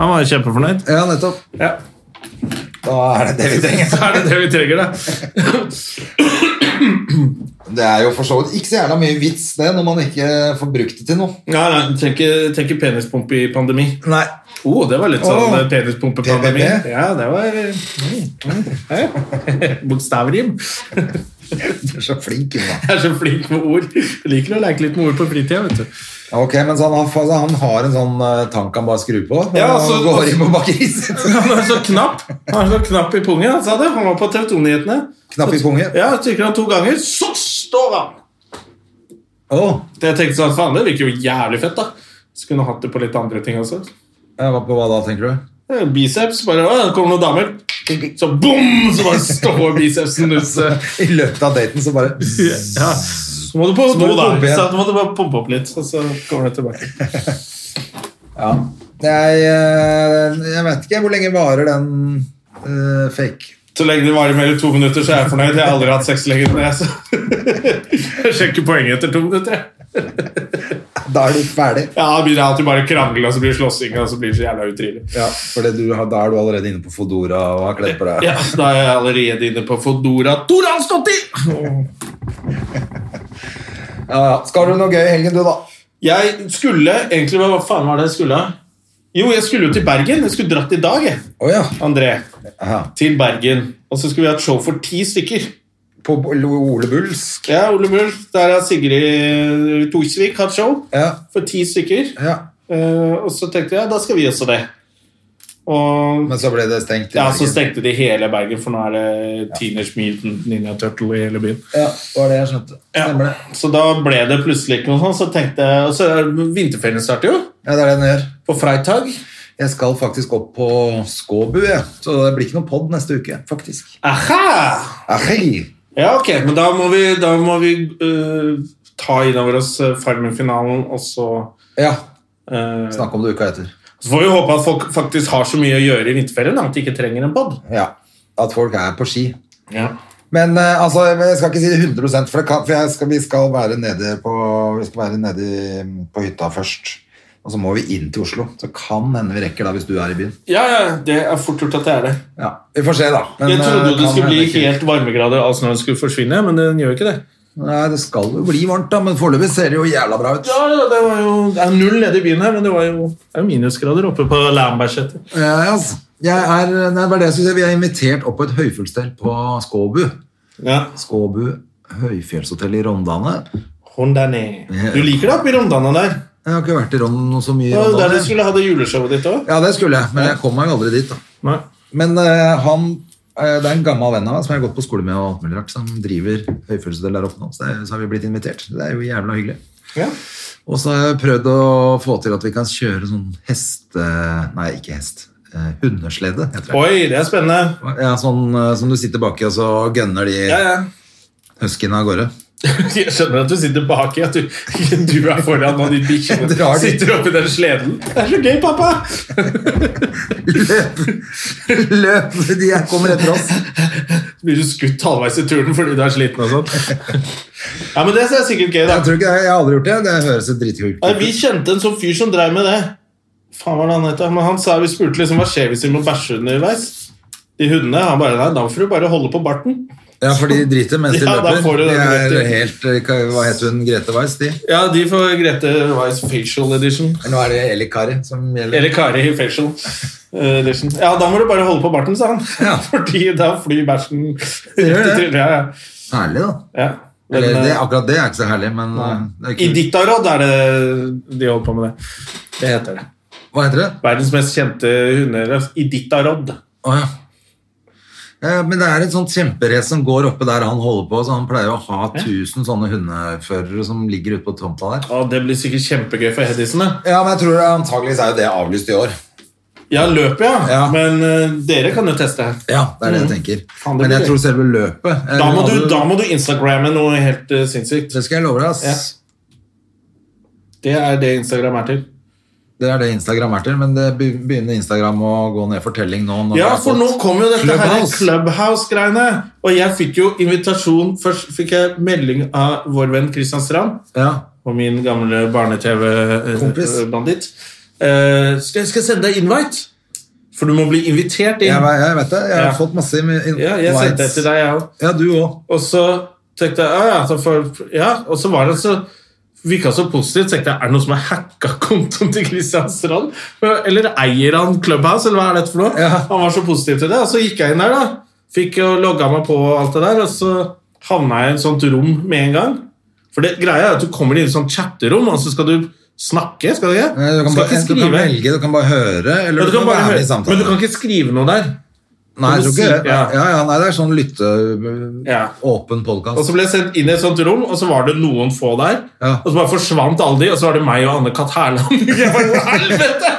[SPEAKER 2] Han var jo kjempefornøyd.
[SPEAKER 1] Ja, nettopp.
[SPEAKER 2] Ja.
[SPEAKER 1] Da er det det vi trenger. [LAUGHS]
[SPEAKER 2] Så [LAUGHS] er det det vi trenger, da.
[SPEAKER 1] Det er jo for så vidt ikke så jævla mye vits, det, når man ikke får brukt det til noe.
[SPEAKER 2] Nei, nei, du trenger ikke- trenger ikke penispumpe i pandemi.
[SPEAKER 1] Nei.
[SPEAKER 2] Å, oh, det var litt sånn
[SPEAKER 1] Åh.
[SPEAKER 2] oh. penispumpepandemi.
[SPEAKER 1] PPP?
[SPEAKER 2] Ja, det var mm, mm. [LAUGHS] Bokstavrim.
[SPEAKER 1] Du er så flink, Jonas.
[SPEAKER 2] Jeg er så flink med ord. Jeg liker å leke litt med ord på fritida, vet du.
[SPEAKER 1] Ja, Ok, men så han, har, altså, han har en sånn eh, tank han bare skrur på.
[SPEAKER 2] Ja,
[SPEAKER 1] og
[SPEAKER 2] altså-
[SPEAKER 1] går inn på bakeriet sitt.
[SPEAKER 2] Han har så knapp Han har så knapp i pungen, han sa det. Han var på TV 2-nyhetene.
[SPEAKER 1] Knapp i pungen.
[SPEAKER 2] Ja, trykker han to ganger, så står han!
[SPEAKER 1] Åh,
[SPEAKER 2] Det jeg tenkte sånn, faen, det virker jo jævlig fett, da. Skulle hun hatt det på litt andre ting også.
[SPEAKER 1] jeg var på hva da, tenker du?
[SPEAKER 2] Eh, Biceps, bare Å, det kommer noen damer. Så bom! Så bare står bicepsen ut. så-
[SPEAKER 1] [LAUGHS] I løpet av daten så bare
[SPEAKER 2] Ja. Så må du på
[SPEAKER 1] Så må
[SPEAKER 2] do,
[SPEAKER 1] du
[SPEAKER 2] da.
[SPEAKER 1] pumpe igjen.
[SPEAKER 2] Så må du bare pumpe opp litt, og så kommer du tilbake.
[SPEAKER 1] Ja. Jeg, eh, jeg vet ikke hvor lenge varer den eh, fake.
[SPEAKER 2] Så lenge det varer mer enn to minutter, så er jeg fornøyd. Jeg har aldri hatt sex lenger enn det. Så. [LAUGHS] Jeg sjekker poenget etter to minutter. jeg.
[SPEAKER 1] Da er du ferdig.
[SPEAKER 2] Ja, Da begynner jeg alltid bare å krangle, og så blir det slåssing, og så blir det så jævla utrivelig.
[SPEAKER 1] Ja, for det du har, da er du allerede inne på Fodora og har kledd på deg.
[SPEAKER 2] Ja, da er jeg allerede inne på Fodora Toransdottir!
[SPEAKER 1] Ja, ja. Skal du noe gøy i helgen, du, da?
[SPEAKER 2] Jeg skulle egentlig Hva faen var det jeg skulle? Jo, jeg skulle jo til Bergen. Jeg skulle dratt i dag, jeg.
[SPEAKER 1] Å ja.
[SPEAKER 2] André.
[SPEAKER 1] ja.
[SPEAKER 2] Til Bergen. Og så skulle vi ha et show for ti stykker.
[SPEAKER 1] På Bo- Ole Bulls?
[SPEAKER 2] Ja, Ole Bull. Der har Sigrid Thorsvik hatt show
[SPEAKER 1] Ja.
[SPEAKER 2] for ti stykker.
[SPEAKER 1] ja.
[SPEAKER 2] Eh, og så tenkte jeg da skal vi også det. Og
[SPEAKER 1] Men så ble det stengt. i
[SPEAKER 2] ja, så
[SPEAKER 1] Bergen.
[SPEAKER 2] stengte de hele Bergen, for nå er det Teenage Mutant Ninja Turtle i hele byen.
[SPEAKER 1] Ja, det var det jeg skjønte.
[SPEAKER 2] Ja.
[SPEAKER 1] Stemmer det.
[SPEAKER 2] Så da ble det plutselig ikke noe sånn. Så tenkte jeg, og så er Vinterferien starter jo
[SPEAKER 1] Ja, det er det den gjør.
[SPEAKER 2] på Freitag.
[SPEAKER 1] Jeg skal faktisk opp på Skåbu, jeg. Så det blir ikke noen pod neste uke, faktisk.
[SPEAKER 2] Aha!
[SPEAKER 1] Ahei.
[SPEAKER 2] Ja, ok, men da må vi, da må vi eh, ta innover oss eh, Farmen-finalen, og så
[SPEAKER 1] Ja.
[SPEAKER 2] eh,
[SPEAKER 1] Snakke om det uka etter.
[SPEAKER 2] Så får vi håpe at folk faktisk har så mye å gjøre i vinterferien da, at de ikke trenger en pod.
[SPEAKER 1] Ja. at folk er på ski.
[SPEAKER 2] Ja.
[SPEAKER 1] Men eh, altså, jeg skal ikke si 100 for, det kan, for jeg skal, vi skal være nede, på, vi skal være nede i- på hytta først. Og så må vi inn til Oslo. Så kan hende vi rekker da, hvis du er i byen.
[SPEAKER 2] ja, ja, det er fort gjort at det er det.
[SPEAKER 1] Ja, Vi får se, da. Men,
[SPEAKER 2] Jeg
[SPEAKER 1] eh,
[SPEAKER 2] trodde jo det
[SPEAKER 1] kan
[SPEAKER 2] skulle
[SPEAKER 1] hende
[SPEAKER 2] bli
[SPEAKER 1] ikke-
[SPEAKER 2] helt varmegrader av snøen skulle forsvinne, men den gjør jo ikke det.
[SPEAKER 1] Nei, det skal jo bli varmt, da, men foreløpig ser det jo jævla bra ut.
[SPEAKER 2] Ja, ja, det var jo det er null nede i byen her, men det var jo, det er jo minusgrader oppe på Lambertseter.
[SPEAKER 1] Ja, altså. Jeg er, nei, det var det jeg skulle si. Vi er invitert opp på et høyfjellshotell på Skåbu.
[SPEAKER 2] Ja.
[SPEAKER 1] Skåbu høyfjellshotell i Rondane.
[SPEAKER 2] Rondane. Du liker det oppe i Rondane der?
[SPEAKER 1] Jeg har ikke vært i Rondane så mye. i
[SPEAKER 2] Det var jo der
[SPEAKER 1] Rondane.
[SPEAKER 2] du skulle ha det juleshowet ditt òg?
[SPEAKER 1] Ja, det skulle jeg, men jeg kom meg aldri dit. da.
[SPEAKER 2] Nei.
[SPEAKER 1] Men eh, han, eh, det er en gammel venn av meg som jeg har gått på skole med, og alt mulig rart, som driver høyfjellshotell der oppe nå. Så, det, så har vi blitt invitert. Det er jo jævla hyggelig.
[SPEAKER 2] Ja.
[SPEAKER 1] Og så har jeg prøvd å få til at vi kan kjøre sånn heste... Nei, ikke hest. Eh, hundeslede, heter det.
[SPEAKER 2] Oi, det er spennende.
[SPEAKER 1] Ja, sånn eh, som du sitter baki, og så gønner de
[SPEAKER 2] Ja, ja.
[SPEAKER 1] huskyene av gårde.
[SPEAKER 2] [LAUGHS] Jeg skjønner at du sitter baki, at du, [LAUGHS] du er foran og de [LAUGHS] bikkjene
[SPEAKER 1] Drar de.
[SPEAKER 2] sitter oppi den sleden. Det er så gøy, pappa!
[SPEAKER 1] Løp! [LAUGHS] Løp! De her kommer etter oss.
[SPEAKER 2] Så blir du skutt halvveis i turen fordi du er sliten og sånn. Ja, men det er sikkert gøy, da.
[SPEAKER 1] Jeg tror ikke jeg, jeg har aldri gjort det. Det høres jo dritkult
[SPEAKER 2] Nei,
[SPEAKER 1] ut.
[SPEAKER 2] vi kjente en sånn fyr som drev med det. Faen hva var det han het, da? Men han sa vi spurte liksom hva skjer hvis vi må bæsje underveis. De hundene. Han bare nei, da får du bare holde på barten.
[SPEAKER 1] Ja, for de driter mens de
[SPEAKER 2] [LAUGHS] Ja, da får
[SPEAKER 1] løper.
[SPEAKER 2] du
[SPEAKER 1] De
[SPEAKER 2] den
[SPEAKER 1] er
[SPEAKER 2] dritten.
[SPEAKER 1] helt eh, hva- Hva het hun? Grete Weiss, de?
[SPEAKER 2] Ja, de får Grete Weiss facial edition.
[SPEAKER 1] Nå er det Eli Kari som gjelder.
[SPEAKER 2] Eller Kari facial edition. Ja, da må du bare holde på barten, sa han.
[SPEAKER 1] Ja.
[SPEAKER 2] [LAUGHS] Fordi da flyr bæsjen rett i
[SPEAKER 1] gjør det.
[SPEAKER 2] trynet. Ja, ja.
[SPEAKER 1] Herlig, da.
[SPEAKER 2] ja. Men,
[SPEAKER 1] Eller, det,
[SPEAKER 2] eh,
[SPEAKER 1] akkurat det er ikke så herlig, men eh, det er
[SPEAKER 2] I
[SPEAKER 1] kult.
[SPEAKER 2] Diktaråd er det de holder på med det. Det heter det.
[SPEAKER 1] Hva heter det?
[SPEAKER 2] Verdens mest kjente hunderøst. I Diktaråd.
[SPEAKER 1] Å ja. Eh, Men det er et sånt kjemperace som går oppe der han holder på. Så han pleier å ha 1000 sånne hundeførere som ligger ute på tomta der.
[SPEAKER 2] Å, det blir sikkert kjempegøy for Hedisen, da.
[SPEAKER 1] Ja, men jeg tror antageligvis er jo det avlyst i år.
[SPEAKER 2] Ja, løpet, ja.
[SPEAKER 1] Ja.
[SPEAKER 2] Men eh, dere kan jo teste.
[SPEAKER 1] Ja, det er det jeg tenker.
[SPEAKER 2] Mm. Faen, det
[SPEAKER 1] Men jeg
[SPEAKER 2] blir
[SPEAKER 1] tror selve løpet eh,
[SPEAKER 2] Da må du, da må du Instagramme noe helt eh, sinnssykt.
[SPEAKER 1] Det skal jeg love deg, ass.
[SPEAKER 2] Det er det Instagram er til.
[SPEAKER 1] Det er det Instagram er til, men det be- begynner Instagram å gå ned for telling nå. når
[SPEAKER 2] Ja,
[SPEAKER 1] det er
[SPEAKER 2] for nå
[SPEAKER 1] fått-
[SPEAKER 2] kom jo dette her
[SPEAKER 1] Clubhouse.
[SPEAKER 2] Clubhouse-greiene. Og jeg fikk jo invitasjon Først fikk jeg melding av vår venn Christian Strand.
[SPEAKER 1] Ja,
[SPEAKER 2] og min gamle
[SPEAKER 1] Kompis.
[SPEAKER 2] barne-TV-banditt. Eh, skal, jeg- skal jeg sende deg invite? For du må bli invitert inn.
[SPEAKER 1] jeg, ve- jeg vet det. Jeg har
[SPEAKER 2] Ja.
[SPEAKER 1] fått masse in- in-
[SPEAKER 2] ja, jeg sendte det
[SPEAKER 1] lights.
[SPEAKER 2] til deg, jeg òg.
[SPEAKER 1] Ja, du òg.
[SPEAKER 2] Og så tenkte jeg «Ah, ja, ja, så for, ja, og så var det så virka så positivt. tenkte jeg, Er det noen som har hacka kontoen til Christian Strand? Eller eier han Clubhouse, eller hva er dette for noe?
[SPEAKER 1] Ja.
[SPEAKER 2] Han var så positiv til det. Og så gikk jeg inn der, da. Fikk jo logga meg på og alt det der, og så havna jeg i et sånt rom med en gang. For det greia er at du kommer inn i et sånt chatterom, og så skal du snakke, skal du ikke?
[SPEAKER 1] Eh, Du kan,
[SPEAKER 2] skal
[SPEAKER 1] bare, du kan velge, du kan bare høre, eller
[SPEAKER 2] Ja,
[SPEAKER 1] du, kan
[SPEAKER 2] bare
[SPEAKER 1] være
[SPEAKER 2] høre. Men
[SPEAKER 1] med i
[SPEAKER 2] du
[SPEAKER 1] samtalen.
[SPEAKER 2] kan ikke skrive noe der.
[SPEAKER 1] Nei, jeg tror ikke
[SPEAKER 2] si-
[SPEAKER 1] det.
[SPEAKER 2] ja.
[SPEAKER 1] Ja, ja, nei, det er sånn lytte...
[SPEAKER 2] Ja.
[SPEAKER 1] Åpen
[SPEAKER 2] Og
[SPEAKER 1] podkast.
[SPEAKER 2] så ble jeg sendt inn i et sånt rom, og så var det noen få der.
[SPEAKER 1] Ja.
[SPEAKER 2] Og så bare forsvant alle de, og så var det meg og Anne-Kat. Hærland. [LAUGHS] Jeg bare, Helvete!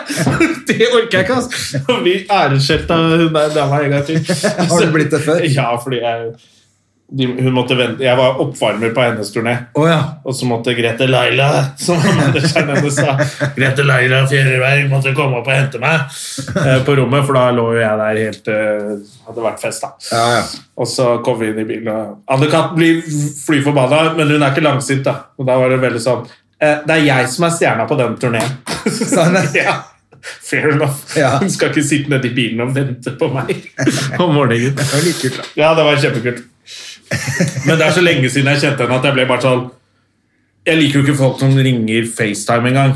[SPEAKER 2] [LAUGHS] Det orker jeg ikke, altså. Og vi æreskjelta hun der dama en gang til.
[SPEAKER 1] [LAUGHS] Har du blitt det før?
[SPEAKER 2] Ja, fordi jeg de, hun måtte vente. Jeg var oppvarmer på hennes turné.
[SPEAKER 1] Å ja.
[SPEAKER 2] Og så måtte Grete Laila, som manageren hennes sa Grete Laila Fjerreberg måtte komme opp og hente meg eh, på rommet, for da lå jo jeg der helt eh, Hadde vært fest, da.
[SPEAKER 1] ja, ja.
[SPEAKER 2] Og så kom vi inn i bilen, og Anne-Kat. blir fly forbanna, men hun er ikke langsint, da. Og da var det veldig sånn eh, Det er jeg som er stjerna på den turneen.
[SPEAKER 1] Sa hun det?
[SPEAKER 2] [LAUGHS] ja. Fair enough.
[SPEAKER 1] Sånn, Ja.
[SPEAKER 2] Hun skal ikke sitte nedi bilen og vente på meg
[SPEAKER 1] [LAUGHS]
[SPEAKER 2] om morgenen.
[SPEAKER 1] Det var litt kult, da.
[SPEAKER 2] Ja, det var kjempekult. Men det er så lenge siden jeg kjente henne at jeg ble bare sånn Jeg liker jo ikke folk som ringer FaceTime engang.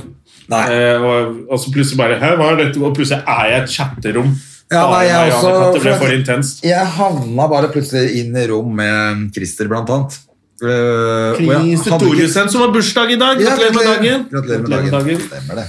[SPEAKER 1] Nei.
[SPEAKER 2] Eh, og, og så plutselig bare Hæ, hva er dette? Og plutselig er jeg i et chatterom.
[SPEAKER 1] Ja, nei, jeg
[SPEAKER 2] Bare meg og
[SPEAKER 1] også-
[SPEAKER 2] Anne-Kat. Det ble
[SPEAKER 1] for-
[SPEAKER 2] for intenst.
[SPEAKER 1] Jeg havna bare plutselig inn i rom med Christer, blant annet. Eh, og jeg
[SPEAKER 2] Christer
[SPEAKER 1] hadde ikke-
[SPEAKER 2] Thoresen, som har bursdag i dag.
[SPEAKER 1] Ja,
[SPEAKER 2] Gratulerer med dagen.
[SPEAKER 1] Gratulerer med dagen. Stemmer det.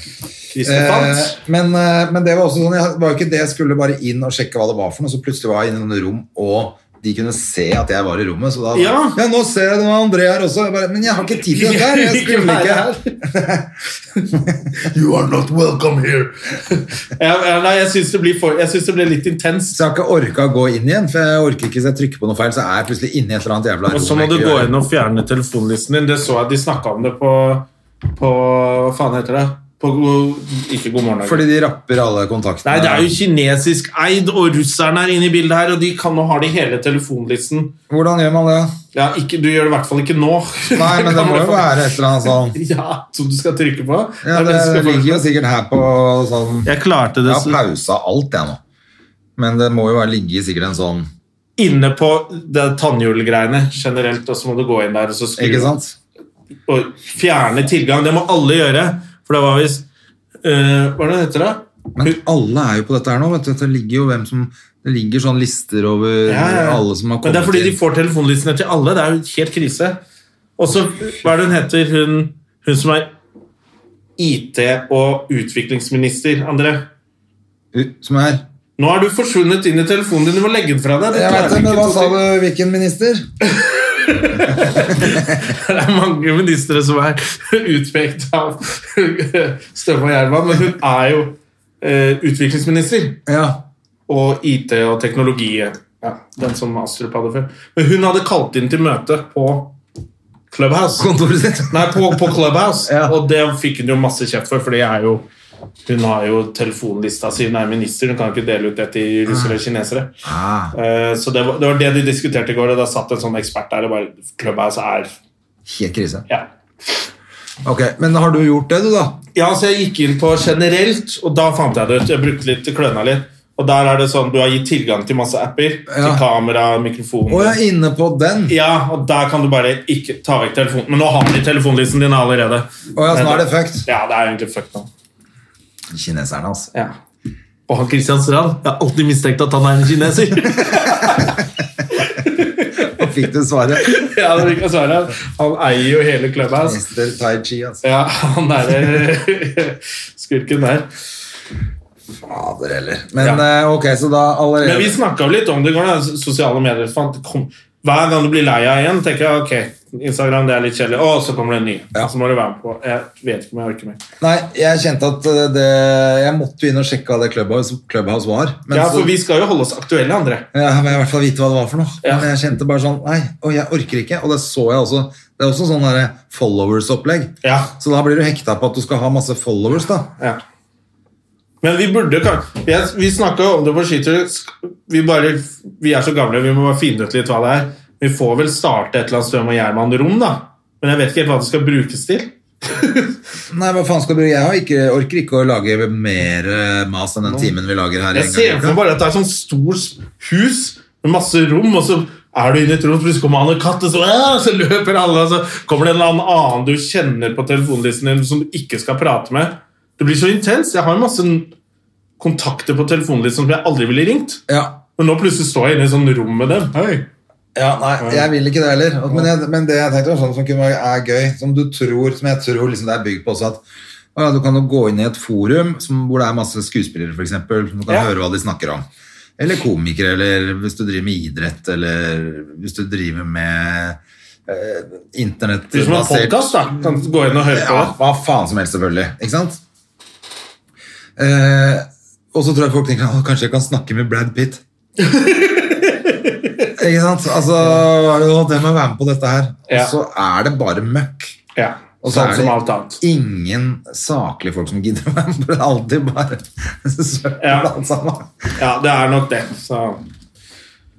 [SPEAKER 2] Christer
[SPEAKER 1] Eh,
[SPEAKER 2] Fant.
[SPEAKER 1] men, eh, men det var også sånn, jeg var jo ikke det jeg skulle bare inn og sjekke hva det var for noe, så plutselig var jeg inne i noen rom, og de kunne se at jeg var i rommet, så da
[SPEAKER 2] Ja.
[SPEAKER 1] nå ser jeg det var André her også, jeg bare, men jeg har ikke tid til det
[SPEAKER 2] [LAUGHS]
[SPEAKER 1] der, jeg skulle ikke her.
[SPEAKER 2] You are not welcome here. [LAUGHS] ja, ja, nei, jeg syns det, blir for- jeg synes det ble litt intenst.
[SPEAKER 1] Så jeg har ikke orket å gå inn igjen, for jeg orker ikke, hvis jeg trykker på noe feil, så er jeg plutselig inne i et eller annet jævla
[SPEAKER 2] Og så må
[SPEAKER 1] jeg
[SPEAKER 2] du
[SPEAKER 1] ikke
[SPEAKER 2] gå
[SPEAKER 1] gjør.
[SPEAKER 2] inn og fjerne telefonlisten din. Det så jeg de snakka om det på, på Hva faen heter det? På, go- ikke God morgen, Norge.
[SPEAKER 1] Fordi de rapper alle kontaktene.
[SPEAKER 2] Nei, det er jo kinesisk eid, og russerne er inne i bildet her, og de kan jo ha det i hele telefonlisten.
[SPEAKER 1] Hvordan gjør man det?
[SPEAKER 2] Ja, ikke, du gjør det i hvert fall ikke nå. [LAUGHS]
[SPEAKER 1] Nei, men det må jo være et eller annet sånn
[SPEAKER 2] Ja, som du skal trykke på.
[SPEAKER 1] ja,
[SPEAKER 2] Det er det du
[SPEAKER 1] Det
[SPEAKER 2] skal få-
[SPEAKER 1] ligger jo sikkert her på sånn Jeg
[SPEAKER 2] Jeg klarte det
[SPEAKER 1] har
[SPEAKER 2] så,
[SPEAKER 1] pausa alt, jeg nå. Men det må jo være ligge sikkert en sånn
[SPEAKER 2] inne på det tannhjulgreiene generelt, og så må du gå inn der og så skru
[SPEAKER 1] Ikke sant?
[SPEAKER 2] og fjerne tilgang. Det må alle gjøre, for det var visst eh, Hva er det det heter, da?
[SPEAKER 1] Men alle er jo på dette her nå. vet du. Det ligger jo hvem som Det ligger sånn lister over alle som har
[SPEAKER 2] Men
[SPEAKER 1] kommet
[SPEAKER 2] det er fordi de
[SPEAKER 1] inn.
[SPEAKER 2] får telefonlistene til alle. Det er jo helt krise. Og så, hva er det hun heter, hun, hun som er IT- og utviklingsminister, André?
[SPEAKER 1] U- Som er
[SPEAKER 2] Nå er du forsvunnet inn i telefonen din. Du må legge den fra deg. Du
[SPEAKER 1] Jeg
[SPEAKER 2] klarer
[SPEAKER 1] vet det, men
[SPEAKER 2] ikke
[SPEAKER 1] hva
[SPEAKER 2] to
[SPEAKER 1] sa
[SPEAKER 2] ting.
[SPEAKER 1] du? Hvilken minister?
[SPEAKER 2] Det er mange ministre som er [LAUGHS] utpekt av [LAUGHS] Støme og Gjerman, men hun er jo eh, utviklingsminister.
[SPEAKER 1] Ja.
[SPEAKER 2] og IT og teknologi. Ja, den som Astrup hadde før. Men hun hadde kalt inn til møte på Clubhouse.
[SPEAKER 1] Kontoret sitt.
[SPEAKER 2] Nei, på, på Clubhouse.
[SPEAKER 1] Ja.
[SPEAKER 2] Og det fikk hun jo masse kjeft for, for det er jo hun har jo telefonlista si, hun er minister, hun kan ikke dele ut det til russere og kinesere.
[SPEAKER 1] Ah,
[SPEAKER 2] Eh, Så det var, det var det de diskuterte i går, og da satt en sånn ekspert der og bare Clubhouse er
[SPEAKER 1] helt krise.
[SPEAKER 2] Ja.
[SPEAKER 1] Ok, Men har du gjort det, du, da?
[SPEAKER 2] Ja, så jeg gikk inn på generelt, og da fant jeg det ut. Jeg brukte litt, kløna litt. Og der er det sånn, du har gitt tilgang til masse apper.
[SPEAKER 1] Ja.
[SPEAKER 2] Til kamera, mikrofon
[SPEAKER 1] Å, jeg er inne på den!
[SPEAKER 2] Ja, og der kan du bare ikke ta vekk telefonen. Men nå har de telefonlisten din allerede.
[SPEAKER 1] Å ja, så nå er det fucked.
[SPEAKER 2] Ja, det er egentlig fucked nå.
[SPEAKER 1] Kineserne, altså.
[SPEAKER 2] Ja. Og han Kristian Strand, jeg har alltid mistenkt at han er en kineser.
[SPEAKER 1] Fikk du svaret?
[SPEAKER 2] [LAUGHS] ja, det virker sånn. at Han eier jo hele Clubhouse.
[SPEAKER 1] Mister Tai Chi, altså.
[SPEAKER 2] Ja, han derre [LAUGHS] skurken der.
[SPEAKER 1] Fader heller. Men
[SPEAKER 2] Ja.
[SPEAKER 1] eh, ok, så da allerede
[SPEAKER 2] Men vi snakka jo litt om det i går, da. sosiale medier. Fant, kom, hver gang du blir lei av en, tenker jeg ok, Instagram det er litt kjedelig. Å, så kommer det en ny.
[SPEAKER 1] Ja.
[SPEAKER 2] Så må du være med på. Jeg vet ikke om jeg orker mer.
[SPEAKER 1] Nei, jeg kjente at eh, det Jeg måtte jo inn og sjekke hva det Clubhouse, Clubhouse var. Men
[SPEAKER 2] Ja,
[SPEAKER 1] så-
[SPEAKER 2] for vi skal jo holde oss aktuelle, André.
[SPEAKER 1] Ja, jeg vil i hvert fall vite hva det var for noe.
[SPEAKER 2] Ja.
[SPEAKER 1] Men jeg kjente bare sånn Nei, å, jeg orker ikke. Og det så jeg også. Det er også sånn derre followers-opplegg.
[SPEAKER 2] Ja.
[SPEAKER 1] Så da blir du hekta på at du skal ha masse followers, da.
[SPEAKER 2] Ja. Men vi burde kan- Vi, er- vi snakka jo om det på skitur. Sk- Vi, bare, vi er så gamle, vi må bare finne ut litt hva det er. Vi får vel starte et eller annet Strøm og Gjerman-rom, da. Men jeg vet ikke helt hva det skal brukes til.
[SPEAKER 1] Nei, hva faen skal du Jeg har ikke, orker ikke å lage mer eh, mas enn den timen vi lager her.
[SPEAKER 2] Jeg
[SPEAKER 1] en gang i
[SPEAKER 2] ser
[SPEAKER 1] uka.
[SPEAKER 2] for meg bare at det er sånn stort s- hus med masse rom, og så er du inne i et rom, så plutselig kommer han en katt, og så, «Æ!» så løper alle, og så kommer det en eller annen du kjenner på telefonlisten din som du ikke skal prate med. Det blir så intenst. Jeg har jo masse kontakter på telefonlisten som jeg aldri ville ringt.
[SPEAKER 1] ja.
[SPEAKER 2] Men nå plutselig står jeg inne i et sånt rom med dem. Hei.
[SPEAKER 1] ja, nei, jeg vil ikke det heller. Og- Men, jeg, men det jeg tenkte var sånn som kunne være, er gøy, som du tror Som jeg tror liksom det er bygd på også, at å, ja, du kan jo gå inn i et forum som, hvor det er masse skuespillere, f.eks., som du kan
[SPEAKER 2] Ja.
[SPEAKER 1] høre hva de snakker om. Eller komikere, eller hvis du driver med idrett, eller hvis du driver med
[SPEAKER 2] Det
[SPEAKER 1] eh,
[SPEAKER 2] er som en
[SPEAKER 1] internettbasert
[SPEAKER 2] podcast, da. Kan gå inn og høre på
[SPEAKER 1] Ja,
[SPEAKER 2] det.
[SPEAKER 1] hva faen som helst, selvfølgelig. Ikke sant? Eh, og så tror jeg folk tenker at kanskje jeg kan snakke med Brad
[SPEAKER 2] [LAUGHS]
[SPEAKER 1] Pitt. ikke sant? Altså, hva er det, å, det må være med på dette her.
[SPEAKER 2] Ja.
[SPEAKER 1] Og så er det bare møkk.
[SPEAKER 2] Ja.
[SPEAKER 1] Og så
[SPEAKER 2] Sånn
[SPEAKER 1] er
[SPEAKER 2] som
[SPEAKER 1] det-
[SPEAKER 2] alt annet.
[SPEAKER 1] Ingen saklige folk som gidder å være med. Det er alltid bare søppel
[SPEAKER 2] Ja.
[SPEAKER 1] alt sammen.
[SPEAKER 2] Ja, det er nok det. Så.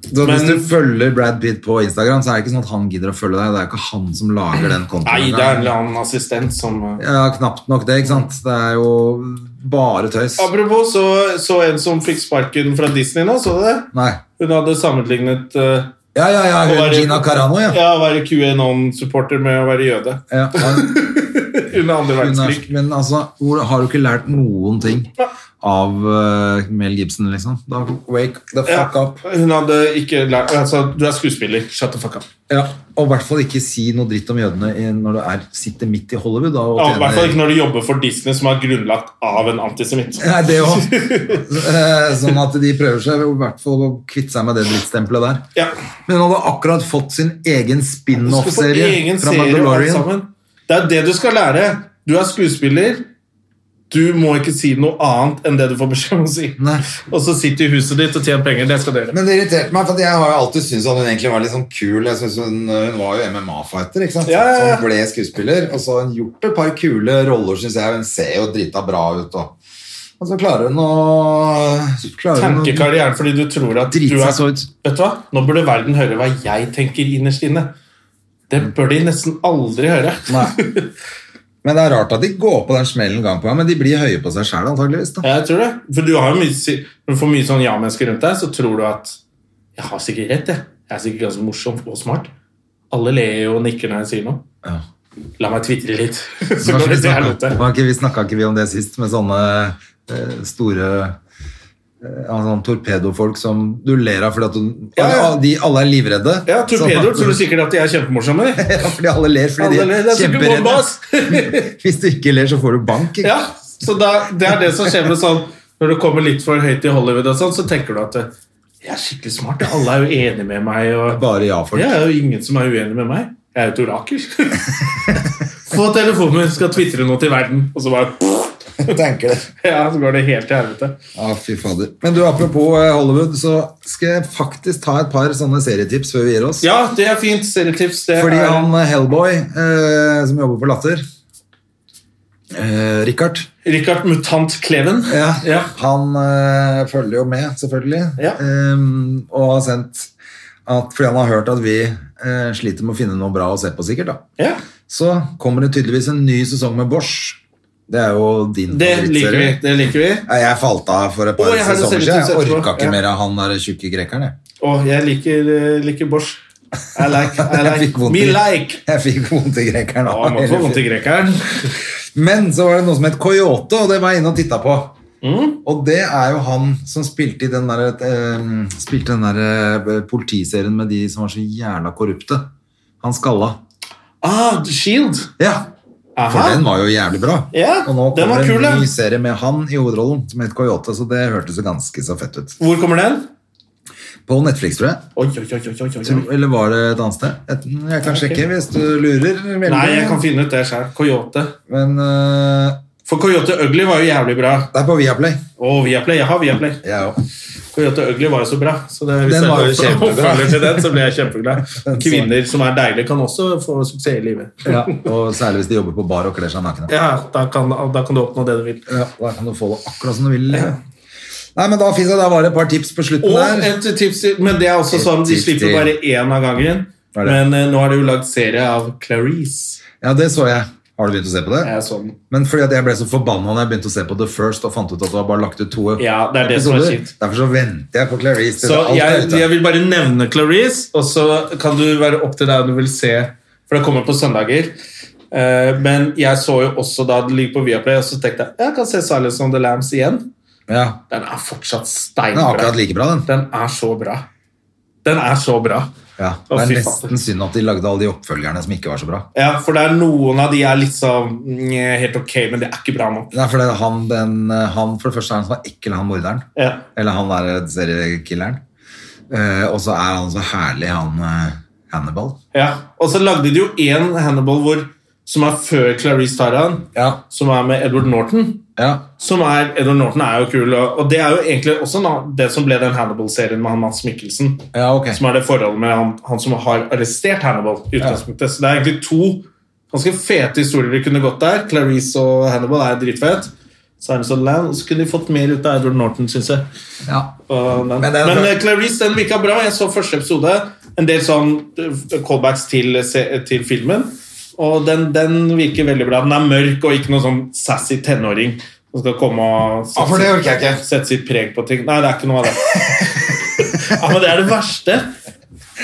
[SPEAKER 1] Så
[SPEAKER 2] Men-
[SPEAKER 1] hvis du følger Brad Pitt på Instagram, så er det ikke sånn at han gidder å følge deg. Det er ikke han som lager den kontoen.
[SPEAKER 2] Nei, det er en eller annen assistent som eh.
[SPEAKER 1] Ja, knapt nok det, ikke sant? Det er jo bare tøys.
[SPEAKER 2] Apropos, så, så en som fikk sparken fra Disney nå, så du det?
[SPEAKER 1] Nei.
[SPEAKER 2] Hun hadde sammenlignet eh,
[SPEAKER 1] Ja, ja, ja,
[SPEAKER 2] Å
[SPEAKER 1] hun
[SPEAKER 2] være-
[SPEAKER 1] Gina Carano, ja.
[SPEAKER 2] ja, å være QAnon-supporter med å være jøde [LAUGHS]
[SPEAKER 1] ja. ja.
[SPEAKER 2] under andre
[SPEAKER 1] Hun er,
[SPEAKER 2] verdenskrig.
[SPEAKER 1] men altså, hvor- har du ikke lært noen ting av eh, Mel Gibson, liksom? Da, wake the
[SPEAKER 2] Ja.
[SPEAKER 1] fuck up.
[SPEAKER 2] Hun hadde ikke lært Altså, du er skuespiller. Shut the fuck up.
[SPEAKER 1] Ja. Og i hvert fall ikke si noe dritt om jødene i- når du er, sitter midt i Hollywood. Da, og
[SPEAKER 2] Ja, I hvert fall
[SPEAKER 1] tjener-
[SPEAKER 2] ikke når du jobber for Disney, som er grunnlagt av en antisemitt.
[SPEAKER 1] Nei, det òg. Sånn at de prøver seg i hvert fall å kvitte seg med det drittstempelet der.
[SPEAKER 2] Ja.
[SPEAKER 1] Men hun hadde akkurat fått sin
[SPEAKER 2] Du skal
[SPEAKER 1] egen
[SPEAKER 2] få
[SPEAKER 1] spin-off-serie
[SPEAKER 2] egen
[SPEAKER 1] fra
[SPEAKER 2] serie, alle
[SPEAKER 1] Mandalorian.
[SPEAKER 2] sammen. Det er det du skal lære. Du er skuespiller. Du må ikke si noe annet enn det du får beskjed om å si.
[SPEAKER 1] Nei.
[SPEAKER 2] Og så sitt i huset ditt og tjen penger. Det skal dere.
[SPEAKER 1] Men det irriterte meg, for at jeg har jo alltid syntes at hun egentlig var litt sånn kul. Jeg synes hun, hun var jo MMA-fighter, ikke sant?
[SPEAKER 2] Ja, ja, ja.
[SPEAKER 1] Så hun ble skuespiller, og så har hun gjort et par kule roller, synes jeg. Hun ser jo drita bra ut, og, og så klarer hun å... Klarer hun å-
[SPEAKER 2] Tankekarrieren fordi du tror at du
[SPEAKER 1] Drite
[SPEAKER 2] er
[SPEAKER 1] seg så ut.
[SPEAKER 2] Vet du hva? Nå burde verden høre hva jeg tenker innerst inne. Det bør de nesten aldri høre. [LAUGHS]
[SPEAKER 1] Nei. Men det er rart at de går på den smellen gang på gang, men de blir høye på seg selv antageligvis. Da.
[SPEAKER 2] Jeg tror det. For du har jo mye, si- når du får mye sånn ja-mennesker rundt deg, så tror du at Jeg har sikkert rett, jeg. Jeg er sikkert ganske morsom og smart. Alle ler jo og nikker når jeg sier noe.
[SPEAKER 1] Ja.
[SPEAKER 2] La meg tvitre [LAUGHS] litt. Så
[SPEAKER 1] Kanskje
[SPEAKER 2] går
[SPEAKER 1] vi
[SPEAKER 2] det til
[SPEAKER 1] snakket-
[SPEAKER 2] helvete.
[SPEAKER 1] var ikke- Vi snakka ikke vi om det sist, med sånne eh, store eh, ja, sånn torpedofolk som du ler av fordi at du,
[SPEAKER 2] Ja, ja.
[SPEAKER 1] Alle, de, alle er livredde.
[SPEAKER 2] Ja, torpedoer
[SPEAKER 1] Så-
[SPEAKER 2] tror du sikkert at de er kjempemorsomme. de.
[SPEAKER 1] [LAUGHS] Ja, fordi alle ler fordi
[SPEAKER 2] Alle ler, det
[SPEAKER 1] de er
[SPEAKER 2] er så ikke
[SPEAKER 1] kjemperedde.
[SPEAKER 2] bombe, ass.
[SPEAKER 1] [LAUGHS] Hvis du ikke ler, så får du bank. Ikke?
[SPEAKER 2] [LAUGHS] Ja, så da, det er det som skjer med sånn Når du kommer litt for høyt i Hollywood og sånn, så tenker du at eh, jeg er skikkelig smart. ja. Alle er jo enige med meg. Og,
[SPEAKER 1] Bare ja-folk.
[SPEAKER 2] det er jo ingen som er uenig med meg. Jeg er jo et orakel. [LAUGHS] Få telefonen min, skal tvitre noe til verden. Og så bare [LAUGHS]
[SPEAKER 1] Tenker det.
[SPEAKER 2] Ja, så går det helt til helvete.
[SPEAKER 1] Ja, fy fader. Men du, apropos eh, Hollywood, så skal jeg faktisk ta et par sånne serietips før vi gir oss.
[SPEAKER 2] Ja, det er fint. Serietips. Det
[SPEAKER 1] Fordi
[SPEAKER 2] er,
[SPEAKER 1] han eh, Hellboy, eh, som jobber på Latter eh, Richard.
[SPEAKER 2] Richard Mutant Kleven.
[SPEAKER 1] Ja.
[SPEAKER 2] Ja.
[SPEAKER 1] Han eh, følger jo med, selvfølgelig.
[SPEAKER 2] Ja.
[SPEAKER 1] Ehm, og har sendt at Fordi han har hørt at vi eh, sliter med å finne noe bra å se på, sikkert. da
[SPEAKER 2] ja.
[SPEAKER 1] Så kommer det tydeligvis en ny sesong med Bosch. Det er jo din
[SPEAKER 2] Det liker vi. Det liker vi.
[SPEAKER 1] Ja, Jeg falt av for et par
[SPEAKER 2] Å, jeg har det
[SPEAKER 1] sesonger
[SPEAKER 2] selv
[SPEAKER 1] siden. Jeg
[SPEAKER 2] sett etterpå.
[SPEAKER 1] orka ikke
[SPEAKER 2] Ja.
[SPEAKER 1] mer av han der tjukke grekeren. Jeg.
[SPEAKER 2] Og jeg liker, eh, liker Bosch. I like,
[SPEAKER 1] [LAUGHS]
[SPEAKER 2] I
[SPEAKER 1] Jeg fikk
[SPEAKER 2] like.
[SPEAKER 1] vondt
[SPEAKER 2] Me
[SPEAKER 1] i-
[SPEAKER 2] like.
[SPEAKER 1] Jeg fikk vondt i grekeren.
[SPEAKER 2] Ja,
[SPEAKER 1] av
[SPEAKER 2] man
[SPEAKER 1] hele
[SPEAKER 2] får vondt i grekeren.
[SPEAKER 1] Men så var det noe som het Coyote, og det var jeg inne og titta på.
[SPEAKER 2] Mm.
[SPEAKER 1] Og det er jo han som spilte i den der, eh, spilte den der eh, politiserien med de som var så jævla korrupte. Han skalla.
[SPEAKER 2] Ah, Shield.
[SPEAKER 1] Ja, for
[SPEAKER 2] Aha.
[SPEAKER 1] den var jo jævlig bra.
[SPEAKER 2] Ja,
[SPEAKER 1] og nå
[SPEAKER 2] den var
[SPEAKER 1] kommer
[SPEAKER 2] kul,
[SPEAKER 1] en ny
[SPEAKER 2] ja.
[SPEAKER 1] serie med han i hovedrollen som het Coyote, så det hørtes jo ganske så fett ut.
[SPEAKER 2] Hvor kommer den?
[SPEAKER 1] På Netflix, tror jeg.
[SPEAKER 2] Oi, oi, oi, oi, oi,
[SPEAKER 1] Tror-
[SPEAKER 2] oi.
[SPEAKER 1] Eller var det et annet sted? Jeg, jeg kan
[SPEAKER 2] Ok.
[SPEAKER 1] sjekke hvis du lurer. veldig.
[SPEAKER 2] Nei, jeg kan finne ut det sjøl. Coyote.
[SPEAKER 1] Men eh,
[SPEAKER 2] For Coyote Ugly var jo jævlig bra.
[SPEAKER 1] det er på Viaplay.
[SPEAKER 2] Å, Viaplay. Jeg har Viaplay.
[SPEAKER 1] Ja, ja.
[SPEAKER 2] Coyote Ugly var jo så bra. Så det, hvis
[SPEAKER 1] Den
[SPEAKER 2] jeg
[SPEAKER 1] var jo
[SPEAKER 2] får
[SPEAKER 1] kjempebra.
[SPEAKER 2] oppfølger til den, så blir jeg kjempeglad.
[SPEAKER 1] [LAUGHS]
[SPEAKER 2] Kvinner som er deilige, kan også få suksess i livet.
[SPEAKER 1] ja. Og særlig hvis de jobber på bar og kler seg nakne.
[SPEAKER 2] Ja, da kan, da kan du oppnå det du vil.
[SPEAKER 1] Ja, da kan du få det akkurat som du vil. Nei, men da finnes det, da var det et par tips på slutten
[SPEAKER 2] Og
[SPEAKER 1] der.
[SPEAKER 2] et tips til, men det er også
[SPEAKER 1] Et
[SPEAKER 2] sånn, de
[SPEAKER 1] tips
[SPEAKER 2] slipper
[SPEAKER 1] til.
[SPEAKER 2] bare én av gangen.
[SPEAKER 1] Er det?
[SPEAKER 2] Men eh, nå har det jo lagd serie av Clarice.
[SPEAKER 1] Ja, det så jeg. Har du begynt å se på det?
[SPEAKER 2] Jeg er sånn
[SPEAKER 1] Men fordi at jeg ble så forbanna når jeg begynte å se på The First og fant ut at du har bare lagt ut to
[SPEAKER 2] Ja, det er det som er kjipt.
[SPEAKER 1] Derfor så venter jeg på Clarice. til
[SPEAKER 2] Så
[SPEAKER 1] alt er
[SPEAKER 2] jeg,
[SPEAKER 1] ute.
[SPEAKER 2] jeg vil bare nevne Clarice, og så kan du være opp til deg om du vil se, for det kommer på søndager. Eh, men jeg så jo også da det ligger på Viaplay, og så tenkte jeg jeg kan se Silence on the Lambs igjen.
[SPEAKER 1] ja.
[SPEAKER 2] Den er fortsatt
[SPEAKER 1] Den er
[SPEAKER 2] steinbra.
[SPEAKER 1] akkurat like bra, den.
[SPEAKER 2] Den er så bra. Den er så bra.
[SPEAKER 1] Ja,
[SPEAKER 2] Å,
[SPEAKER 1] Det er
[SPEAKER 2] fy faen.
[SPEAKER 1] nesten synd at de lagde alle de oppfølgerne som ikke var så bra.
[SPEAKER 2] Ja, for det er noen av de er liksom mm, helt ok, men det er ikke bra nok.
[SPEAKER 1] Nei, for det er han, den, han For det første er han som er ekkel, han morderen.
[SPEAKER 2] Ja.
[SPEAKER 1] Eller han der seriekilleren. Eh, og så er han så herlig, han eh, Hannibal.
[SPEAKER 2] Ja. Og så lagde de jo én Hannibal hvor, som er før Clarice tar han,
[SPEAKER 1] Ja.
[SPEAKER 2] som er med Edward Norton.
[SPEAKER 1] ja.
[SPEAKER 2] som er, Edward Norton er jo kul, og, og det er jo egentlig også na- det som ble den Hannibal-serien med han Mads Mikkelsen,
[SPEAKER 1] Ja, ok.
[SPEAKER 2] som er det forholdet med han, han som har arrestert Hannibal. i utgangspunktet. Så det er egentlig to ganske fete historier vi kunne gått der. Clarice og Hannibal er dritfett. Silence of the Land, og så kunne de fått mer ut av Edward Norton, syns jeg.
[SPEAKER 1] Ja.
[SPEAKER 2] Og den.
[SPEAKER 1] Men
[SPEAKER 2] Men,
[SPEAKER 1] den-
[SPEAKER 2] eh, Clarice den virka bra. Jeg så første episode. En del sånn eh, callbacks til, se- eh, til filmen. Og den, den virker veldig bra. Den er mørk og ikke noe sånn sassy tenåring som skal komme og
[SPEAKER 1] Ja, for det orker jeg ikke.
[SPEAKER 2] sette sitt preg på ting. Nei, det er ikke
[SPEAKER 1] [LAUGHS]
[SPEAKER 2] noe av det. ja, men det er det verste.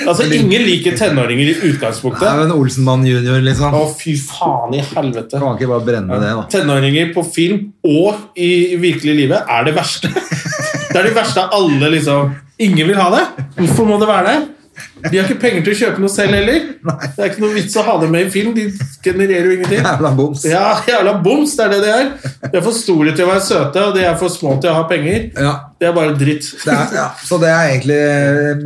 [SPEAKER 2] Altså, Ingen liker tenåringer i
[SPEAKER 1] Det er
[SPEAKER 2] utgangspunktet.
[SPEAKER 1] jo en Olsenmann junior, liksom.
[SPEAKER 2] Å, fy faen i helvete.
[SPEAKER 1] Kan man ikke bare brenne det, da? [LAUGHS]
[SPEAKER 2] Tenåringer på film og i virkelig livet er det verste. Det er det verste av alle, liksom. Ingen vil ha det. Hvorfor må det være det? De har ikke penger til å kjøpe noe selv heller. Det er ikke noe vits å ha dem med i film. De genererer jo ingenting.
[SPEAKER 1] Jævla boms.
[SPEAKER 2] Ja, jævla boms, det er det de er. De er for store til å være søte, og de er for små til å ha penger.
[SPEAKER 1] Ja,
[SPEAKER 2] Det er bare dritt.
[SPEAKER 1] det er, ja. Så det er egentlig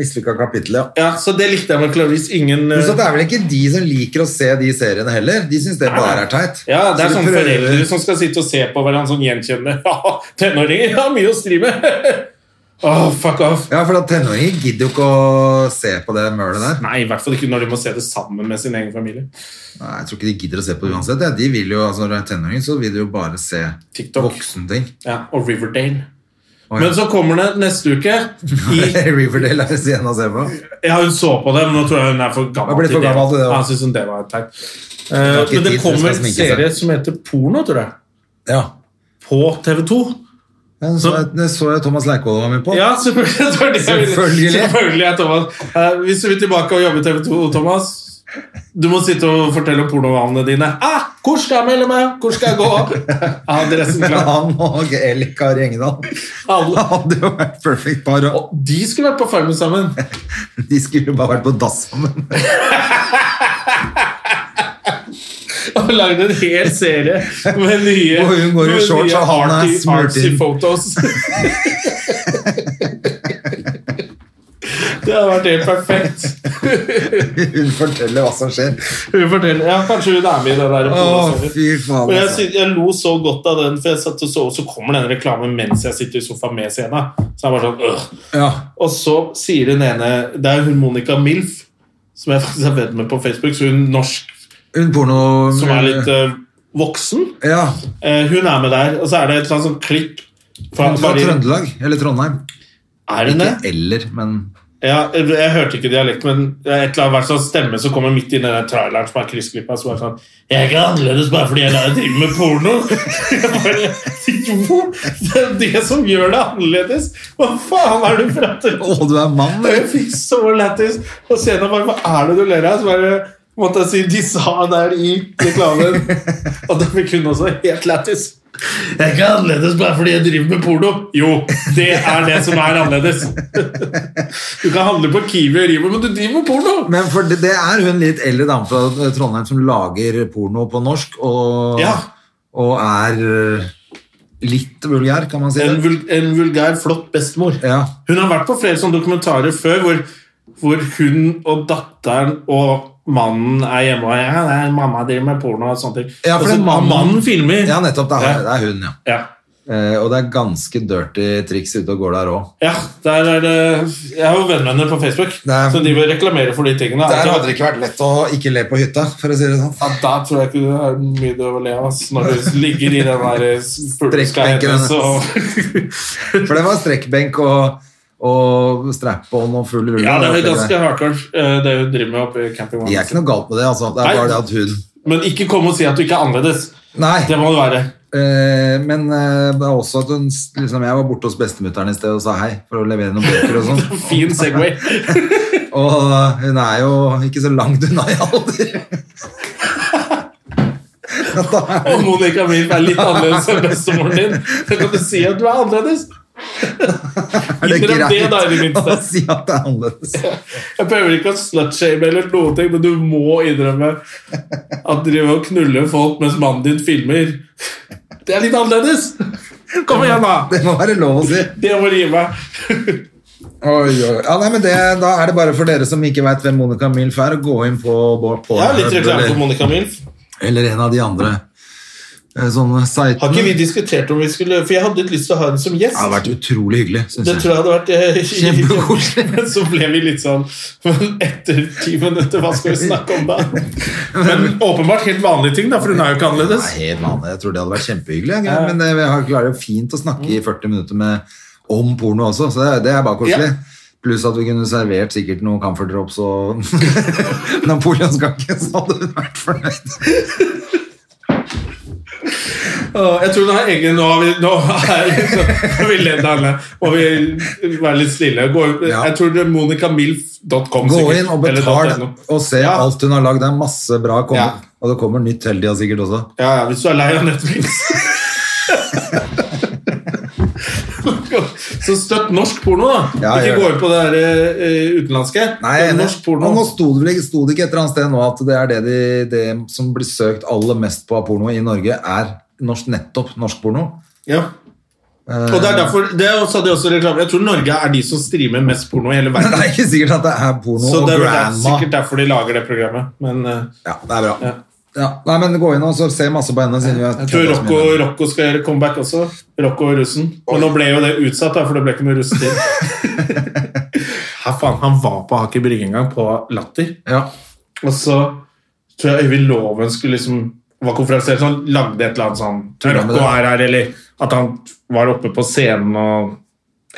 [SPEAKER 1] mislykka kapittel, ja.
[SPEAKER 2] Ja, Så det likte jeg med Clarice. Ingen
[SPEAKER 1] Pluss at
[SPEAKER 2] eh,
[SPEAKER 1] det er vel ikke de som liker å se de seriene heller. De syns det bare er teit.
[SPEAKER 2] eh, ja, Det er sånn
[SPEAKER 1] Så de
[SPEAKER 2] sånne
[SPEAKER 1] prøver-
[SPEAKER 2] foreldre som skal sitte og se på hverandre sånn gjenkjennende. [LAUGHS] Ja, tenåringer har mye å stri med! [LAUGHS] Åh, fuck off.
[SPEAKER 1] Ja, for at tenåringer gidder jo ikke å se på det mølet der.
[SPEAKER 2] Nei, i hvert fall ikke når de må se det sammen med sin egen familie.
[SPEAKER 1] Nei, jeg tror ikke de gidder å se på det uansett. ja. De vil jo, altså Når du er tenåring, så vil du jo bare se
[SPEAKER 2] TikTok.
[SPEAKER 1] voksenting.
[SPEAKER 2] Ja, Og Riverdale.
[SPEAKER 1] Å, ja.
[SPEAKER 2] Men så kommer det neste uke. I,
[SPEAKER 1] [LAUGHS] Riverdale er det siden å se på.
[SPEAKER 2] ja, hun så på det, men nå tror jeg hun er for
[SPEAKER 1] Hun
[SPEAKER 2] gammel
[SPEAKER 1] blir for gammel til det,
[SPEAKER 2] Ja,
[SPEAKER 1] da.
[SPEAKER 2] jeg synes hun det var teit. Eh,
[SPEAKER 1] har
[SPEAKER 2] men det
[SPEAKER 1] ikke tid til å
[SPEAKER 2] kommer en
[SPEAKER 1] sminke seg.
[SPEAKER 2] serie som heter Porno, tror jeg.
[SPEAKER 1] Ja.
[SPEAKER 2] På TV2.
[SPEAKER 1] Den så, jeg- den så jeg Thomas Leikvoll var med på. [LAUGHS]
[SPEAKER 2] Ja, selvfølgelig. [LAUGHS] det var det jeg ville-
[SPEAKER 1] Selvfølgelig.
[SPEAKER 2] selvfølgelig er Thomas. Eh, hvis du vil tilbake og jobbe i TV2, Thomas du må sitte og fortelle om pornovanene dine. Ah, 'Hvor skal jeg melde meg? Hvor skal jeg
[SPEAKER 1] [LAUGHS]
[SPEAKER 2] gå?' Adressen
[SPEAKER 1] Men
[SPEAKER 2] klar.
[SPEAKER 1] han og Eli Kari Engedal
[SPEAKER 2] Alle.
[SPEAKER 1] hadde jo vært perfect par. Og
[SPEAKER 2] Og de skulle vært på Farmen sammen.
[SPEAKER 1] de skulle jo bare vært på dass sammen. [LAUGHS]
[SPEAKER 2] Og lagd en hel serie med nye
[SPEAKER 1] Og hun går i
[SPEAKER 2] med
[SPEAKER 1] shorts,
[SPEAKER 2] nye
[SPEAKER 1] og han er
[SPEAKER 2] arty-
[SPEAKER 1] smurt
[SPEAKER 2] artsy
[SPEAKER 1] inn. [LAUGHS]
[SPEAKER 2] photos. Det hadde vært helt perfekt.
[SPEAKER 1] Hun forteller hva som skjer.
[SPEAKER 2] Hun forteller, ja, Kanskje hun er med i det der.
[SPEAKER 1] Å, fy faen.
[SPEAKER 2] Men jeg,
[SPEAKER 1] altså.
[SPEAKER 2] sy- jeg lo så godt av den, for jeg satt og så, og så kommer den reklamen mens jeg sitter i sofaen med scenen. Så jeg bare sånn, øh.
[SPEAKER 1] Ja.
[SPEAKER 2] Og så sier den ene Det er hun Monica Milf, som jeg faktisk er venn med på Facebook, så hun norsk
[SPEAKER 1] Hun porno...
[SPEAKER 2] som
[SPEAKER 1] Mm.
[SPEAKER 2] er litt øh, voksen.
[SPEAKER 1] Ja.
[SPEAKER 2] Eh, hun er med der, og så er det et eller annet sånn klipp fra,
[SPEAKER 1] Hun fra
[SPEAKER 2] bare-
[SPEAKER 1] Trøndelag. Eller Trondheim.
[SPEAKER 2] Er hun det?
[SPEAKER 1] Ikke eller, men
[SPEAKER 2] Ja, jeg, jeg hørte ikke dialekt, men det er et eller annet hvert sånn stemme som kommer midt i den der traileren som er kryssklippa, som er sånn 'Jeg er ikke annerledes bare fordi jeg lærer å drive med porno'. [LAUGHS] Jeg bare, jo, det er det som gjør det annerledes! Hva faen er det du prater om?
[SPEAKER 1] Å, du er mann,
[SPEAKER 2] Og
[SPEAKER 1] eller?
[SPEAKER 2] Jeg fikk så lættis. Og senere bare Hva er det du ler av? Så bare måtte jeg si De sa der i reklamen. Og da fikk hun også helt lættis. Jeg er ikke annerledes bare fordi jeg driver med porno. Jo, det er det som er annerledes. Du kan handle på Kiwi og Rimo, men du driver med porno!
[SPEAKER 1] Men for det, det er hun litt eldre dame fra Trondheim som lager porno på norsk, og,
[SPEAKER 2] Ja.
[SPEAKER 1] og er eh, litt vulgær, kan man si.
[SPEAKER 2] En,
[SPEAKER 1] det.
[SPEAKER 2] vul en vulgær, flott bestemor.
[SPEAKER 1] Ja.
[SPEAKER 2] Hun har vært på flere sånne dokumentarer før hvor, hvor hun og datteren og mannen er hjemme og ja, nei, 'Mamma driver med porno' og sånne ting.
[SPEAKER 1] Ja, for
[SPEAKER 2] og så
[SPEAKER 1] den mannen-
[SPEAKER 2] mannen filmer.
[SPEAKER 1] ja, nettopp. Det er,
[SPEAKER 2] Ja.
[SPEAKER 1] det er hun, ja.
[SPEAKER 2] Ja.
[SPEAKER 1] Eh, og det er ganske dirty triks ute og går der òg.
[SPEAKER 2] Ja, der er det Jeg har jo venner med henne på Facebook
[SPEAKER 1] Nei.
[SPEAKER 2] som driver og reklamerer for de tingene. ja,
[SPEAKER 1] ikke vært lett å ikke le på hytta, for å si det sånn.
[SPEAKER 2] da tror jeg ikke du har mye du å le av ass, når du ligger i den der fuglska
[SPEAKER 1] Strekkbenken
[SPEAKER 2] hennes [LAUGHS] og
[SPEAKER 1] For det var strekkbenk og, og strap-on og full rulle.
[SPEAKER 2] Ja, det er
[SPEAKER 1] og alt
[SPEAKER 2] ganske
[SPEAKER 1] det
[SPEAKER 2] hardcore, eh, det hun driver med oppe i campingvognen.
[SPEAKER 1] der. Det er ikke noe galt med det, altså. Det
[SPEAKER 2] Nei.
[SPEAKER 1] er bare det at hun
[SPEAKER 2] Men ikke kom og si at du ikke er annerledes.
[SPEAKER 1] Nei.
[SPEAKER 2] Det må du være.
[SPEAKER 1] Eh, men eh, det er også at hun liksom, Jeg var borte hos bestemutteren i sted og sa hei for å levere noen bøker og sånn.
[SPEAKER 2] [LAUGHS] Fin Segway.
[SPEAKER 1] Og eh, hun er jo ikke så langt unna i alder.
[SPEAKER 2] [LAUGHS]
[SPEAKER 1] [LAUGHS] Da er
[SPEAKER 2] Og Monica Milf er litt annerledes enn bestemoren din. Så kan du si at du er annerledes.
[SPEAKER 1] det
[SPEAKER 2] Innrøm det, da, i det
[SPEAKER 1] greit å
[SPEAKER 2] minste.
[SPEAKER 1] si at det er annerledes.
[SPEAKER 2] Jeg prøver ikke å slutshame eller noen ting, men du må innrømme at drive og knulle folk mens mannen din filmer. Det er litt annerledes! Kom igjen, da!
[SPEAKER 1] Det må være lov å si.
[SPEAKER 2] Det må rive meg.
[SPEAKER 1] Oi, oi. Ja, nei, men det, da er det bare for dere som ikke veit hvem Monica Milf er, å gå inn på, på, på
[SPEAKER 2] Jeg har litt reklame for
[SPEAKER 1] eller,
[SPEAKER 2] Monica Milf.
[SPEAKER 1] eller en av de andre eh, sånne
[SPEAKER 2] Har ikke vi
[SPEAKER 1] sitene.
[SPEAKER 2] diskutert om vi skulle For jeg hadde litt lyst til å ha henne som
[SPEAKER 1] Det har
[SPEAKER 2] gjest.
[SPEAKER 1] vært utrolig hyggelig,
[SPEAKER 2] Det
[SPEAKER 1] syns jeg.
[SPEAKER 2] tror jeg hadde vært eh, [LAUGHS]
[SPEAKER 1] Kjempekoselig.
[SPEAKER 2] Men så ble vi litt sånn [LAUGHS] Men etter ti minutter, hva skal vi snakke om da? Men åpenbart helt vanlige ting, da, for hun er jo ikke
[SPEAKER 1] Det
[SPEAKER 2] annerledes.
[SPEAKER 1] er helt vanlig. Jeg tror det hadde vært kjempehyggelig. jeg. Men eh, vi klarer jo fint å snakke i 40 minutter med, om porno også, så det, det er bare koselig. Pluss at vi kunne servert sikkert noen Comfort Drops og [LAUGHS] napoleonskake, så hadde hun vært fornøyd.
[SPEAKER 2] Åh, Jeg tror hun har egen Nå har vi, nå er vi, nå har vi ledd av henne. Og vi være litt stille. Gå,
[SPEAKER 1] Ja.
[SPEAKER 2] Jeg tror det er monicamilf.com.
[SPEAKER 1] Gå
[SPEAKER 2] sikkert,
[SPEAKER 1] inn og
[SPEAKER 2] eller
[SPEAKER 1] betal
[SPEAKER 2] .no.
[SPEAKER 1] og se
[SPEAKER 2] Ja.
[SPEAKER 1] alt hun har lagd. Det er masse bra kommet.
[SPEAKER 2] Ja.
[SPEAKER 1] Og det kommer nytt hele tida sikkert også.
[SPEAKER 2] Ja, ja, hvis du er lei av Netflix. Så støtt norsk porno, da.
[SPEAKER 1] Ja, gjør
[SPEAKER 2] ikke
[SPEAKER 1] det.
[SPEAKER 2] gå inn på det der, eh, utenlandske.
[SPEAKER 1] Nei, jeg
[SPEAKER 2] Støtt
[SPEAKER 1] er enig.
[SPEAKER 2] norsk porno.
[SPEAKER 1] Og nå sto det, vel, ikke- sto det ikke et eller annet sted nå at det er det, de, det som blir søkt aller mest på av porno i Norge, er norsk, nettopp norsk porno.
[SPEAKER 2] Ja. Og det er derfor det er også, det er også reklame. Jeg tror Norge er de som streamer mest porno i hele
[SPEAKER 1] Eh, [LAUGHS] Men
[SPEAKER 2] verden.
[SPEAKER 1] det er ikke sikkert at det er porno
[SPEAKER 2] Så
[SPEAKER 1] og
[SPEAKER 2] det er vel der-
[SPEAKER 1] grandma.
[SPEAKER 2] sikkert derfor de lager det programmet. Men eh,
[SPEAKER 1] Ja, det er bra.
[SPEAKER 2] Ja.
[SPEAKER 1] Ja. Nei, men Gå inn og så se masse på henne. Siden vi har
[SPEAKER 2] jeg tror
[SPEAKER 1] kødda så mye
[SPEAKER 2] Rocco,
[SPEAKER 1] med henne.
[SPEAKER 2] Rocco skal gjøre comeback også. Rocco og russen. Og nå ble jo det utsatt, da, for det ble ikke noe russetid. [LAUGHS] Her faen, Han var på Aker Brygge en gang, på Latter.
[SPEAKER 1] ja.
[SPEAKER 2] Og så tror jeg Øyvind Loven skulle liksom var konferansier, så han lagde et eller annet sånn
[SPEAKER 1] Tulla med
[SPEAKER 2] Rocco
[SPEAKER 1] det.
[SPEAKER 2] er her, eller at han var oppe på scenen og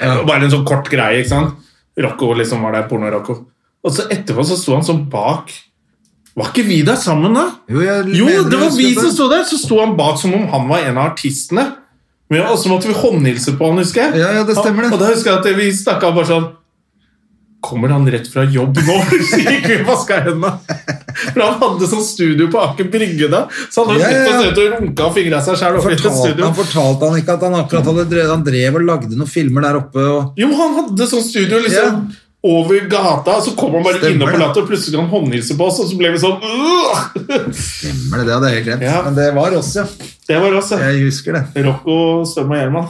[SPEAKER 1] Ja.
[SPEAKER 2] Bare en sånn kort greie, ikke sant? Rocco liksom var der, porno-Rocco. Og så etterpå så sto han sånn bak Var ikke vi der sammen, da?
[SPEAKER 1] Jo, jeg
[SPEAKER 2] Jo,
[SPEAKER 1] mener
[SPEAKER 2] det
[SPEAKER 1] jeg
[SPEAKER 2] var
[SPEAKER 1] husker
[SPEAKER 2] vi
[SPEAKER 1] det.
[SPEAKER 2] som sto der! Så sto han bak som om han var en av artistene. Men- Og så måtte vi håndhilse på han, husker jeg.
[SPEAKER 1] Ja, ja, det stemmer det.
[SPEAKER 2] Og, og da husker jeg at vi snakka bare sånn Kommer han rett fra jobb nå? [LAUGHS] Så gikk vi og vaska hendene. For han hadde sånn studio på Aker Brygge da. Så han hadde
[SPEAKER 1] Ja, ja, ja.
[SPEAKER 2] slitt og sett og runka og fingra seg sjæl oppi et
[SPEAKER 1] Fortalte
[SPEAKER 2] studio.
[SPEAKER 1] han, fortalte han ikke at han akkurat hadde drevet, han drev og lagde noen filmer der oppe? Og,
[SPEAKER 2] Jo, han hadde sånn studio liksom over gata, og så kom han bare
[SPEAKER 1] Stemmer
[SPEAKER 2] innom på
[SPEAKER 1] det.
[SPEAKER 2] latter, og plutselig kan han håndhilse på oss, og så ble vi sånn «Åh!»
[SPEAKER 1] stemmer det, det hadde jeg helt glemt.
[SPEAKER 2] Ja.
[SPEAKER 1] Men det var oss, ja.
[SPEAKER 2] [LAUGHS] Det var oss, ja.
[SPEAKER 1] Jeg husker det.
[SPEAKER 2] Rocco, Støm og Gjerman.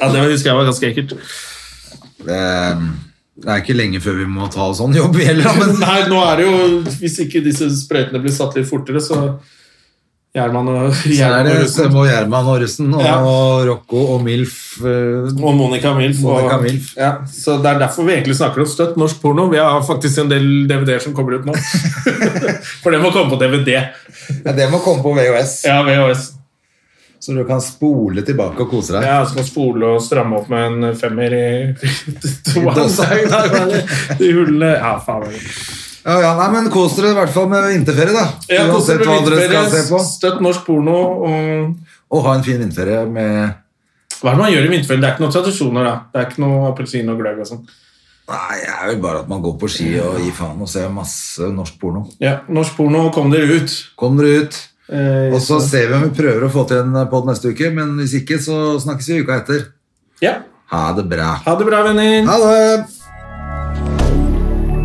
[SPEAKER 2] Ja, det husker jeg var ganske ekkelt. [LAUGHS]
[SPEAKER 1] Det, det er ikke lenge før vi må ta oss sånn jobb, vi heller. da, Men
[SPEAKER 2] Nei, nå er det jo Hvis ikke disse sprøytene blir satt litt fortere, så Gjerman og
[SPEAKER 1] [LAUGHS] så er
[SPEAKER 2] Gjerman og
[SPEAKER 1] det
[SPEAKER 2] Russen.
[SPEAKER 1] Stemme og Gjerman og Russen og
[SPEAKER 2] Ja.
[SPEAKER 1] Rocco og Milf. eh,
[SPEAKER 2] Og Monica Milf.
[SPEAKER 1] Monica
[SPEAKER 2] og,
[SPEAKER 1] Milf.
[SPEAKER 2] Ja, så Det er derfor vi egentlig snakker om støtt norsk porno. Vi har faktisk en del DVD-er som kommer [LAUGHS] ut nå. For det må komme på DVD.
[SPEAKER 1] Ja, det må komme på VHS,
[SPEAKER 2] Ja, VHS.
[SPEAKER 1] så du kan spole tilbake og kose deg.
[SPEAKER 2] Ja, så må spole og stramme opp med en femmer i [LAUGHS] to
[SPEAKER 1] I dossa.
[SPEAKER 2] De hullene Ja, faen.
[SPEAKER 1] Ja, ja, nei, men Kos dere i hvert fall med vinterferie, da.
[SPEAKER 2] Ja,
[SPEAKER 1] Uansett hva dere skal se på.
[SPEAKER 2] Støtt norsk porno. og...
[SPEAKER 1] Og ha en fin vinterferie med
[SPEAKER 2] Hva er det man gjør i vinterferien? Det er ikke noen tradisjoner, da. Det er ikke noe appelsin og gløgg og sånn.
[SPEAKER 1] Nei, det er vel bare at man går på ski og gir faen og ser masse norsk porno.
[SPEAKER 2] Ja, norsk porno, kom dere ut.
[SPEAKER 1] Kom dere ut.
[SPEAKER 2] Eh,
[SPEAKER 1] Og så ser vi om vi prøver å få til en podd neste uke, men hvis ikke, så snakkes vi uka etter.
[SPEAKER 2] Ja.
[SPEAKER 1] Ha det bra.
[SPEAKER 2] Ha det bra, venner.
[SPEAKER 1] Ha det!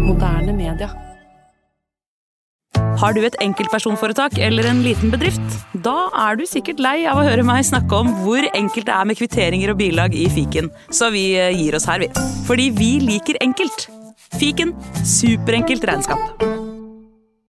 [SPEAKER 3] Moderne media.
[SPEAKER 4] Har du et enkeltpersonforetak eller en liten bedrift? Da er du sikkert lei av å høre meg snakke om hvor enkelt det er med kvitteringer og bilag i fiken, så vi eh, gir oss her, vi. Fordi vi liker enkelt. Fiken superenkelt regnskap.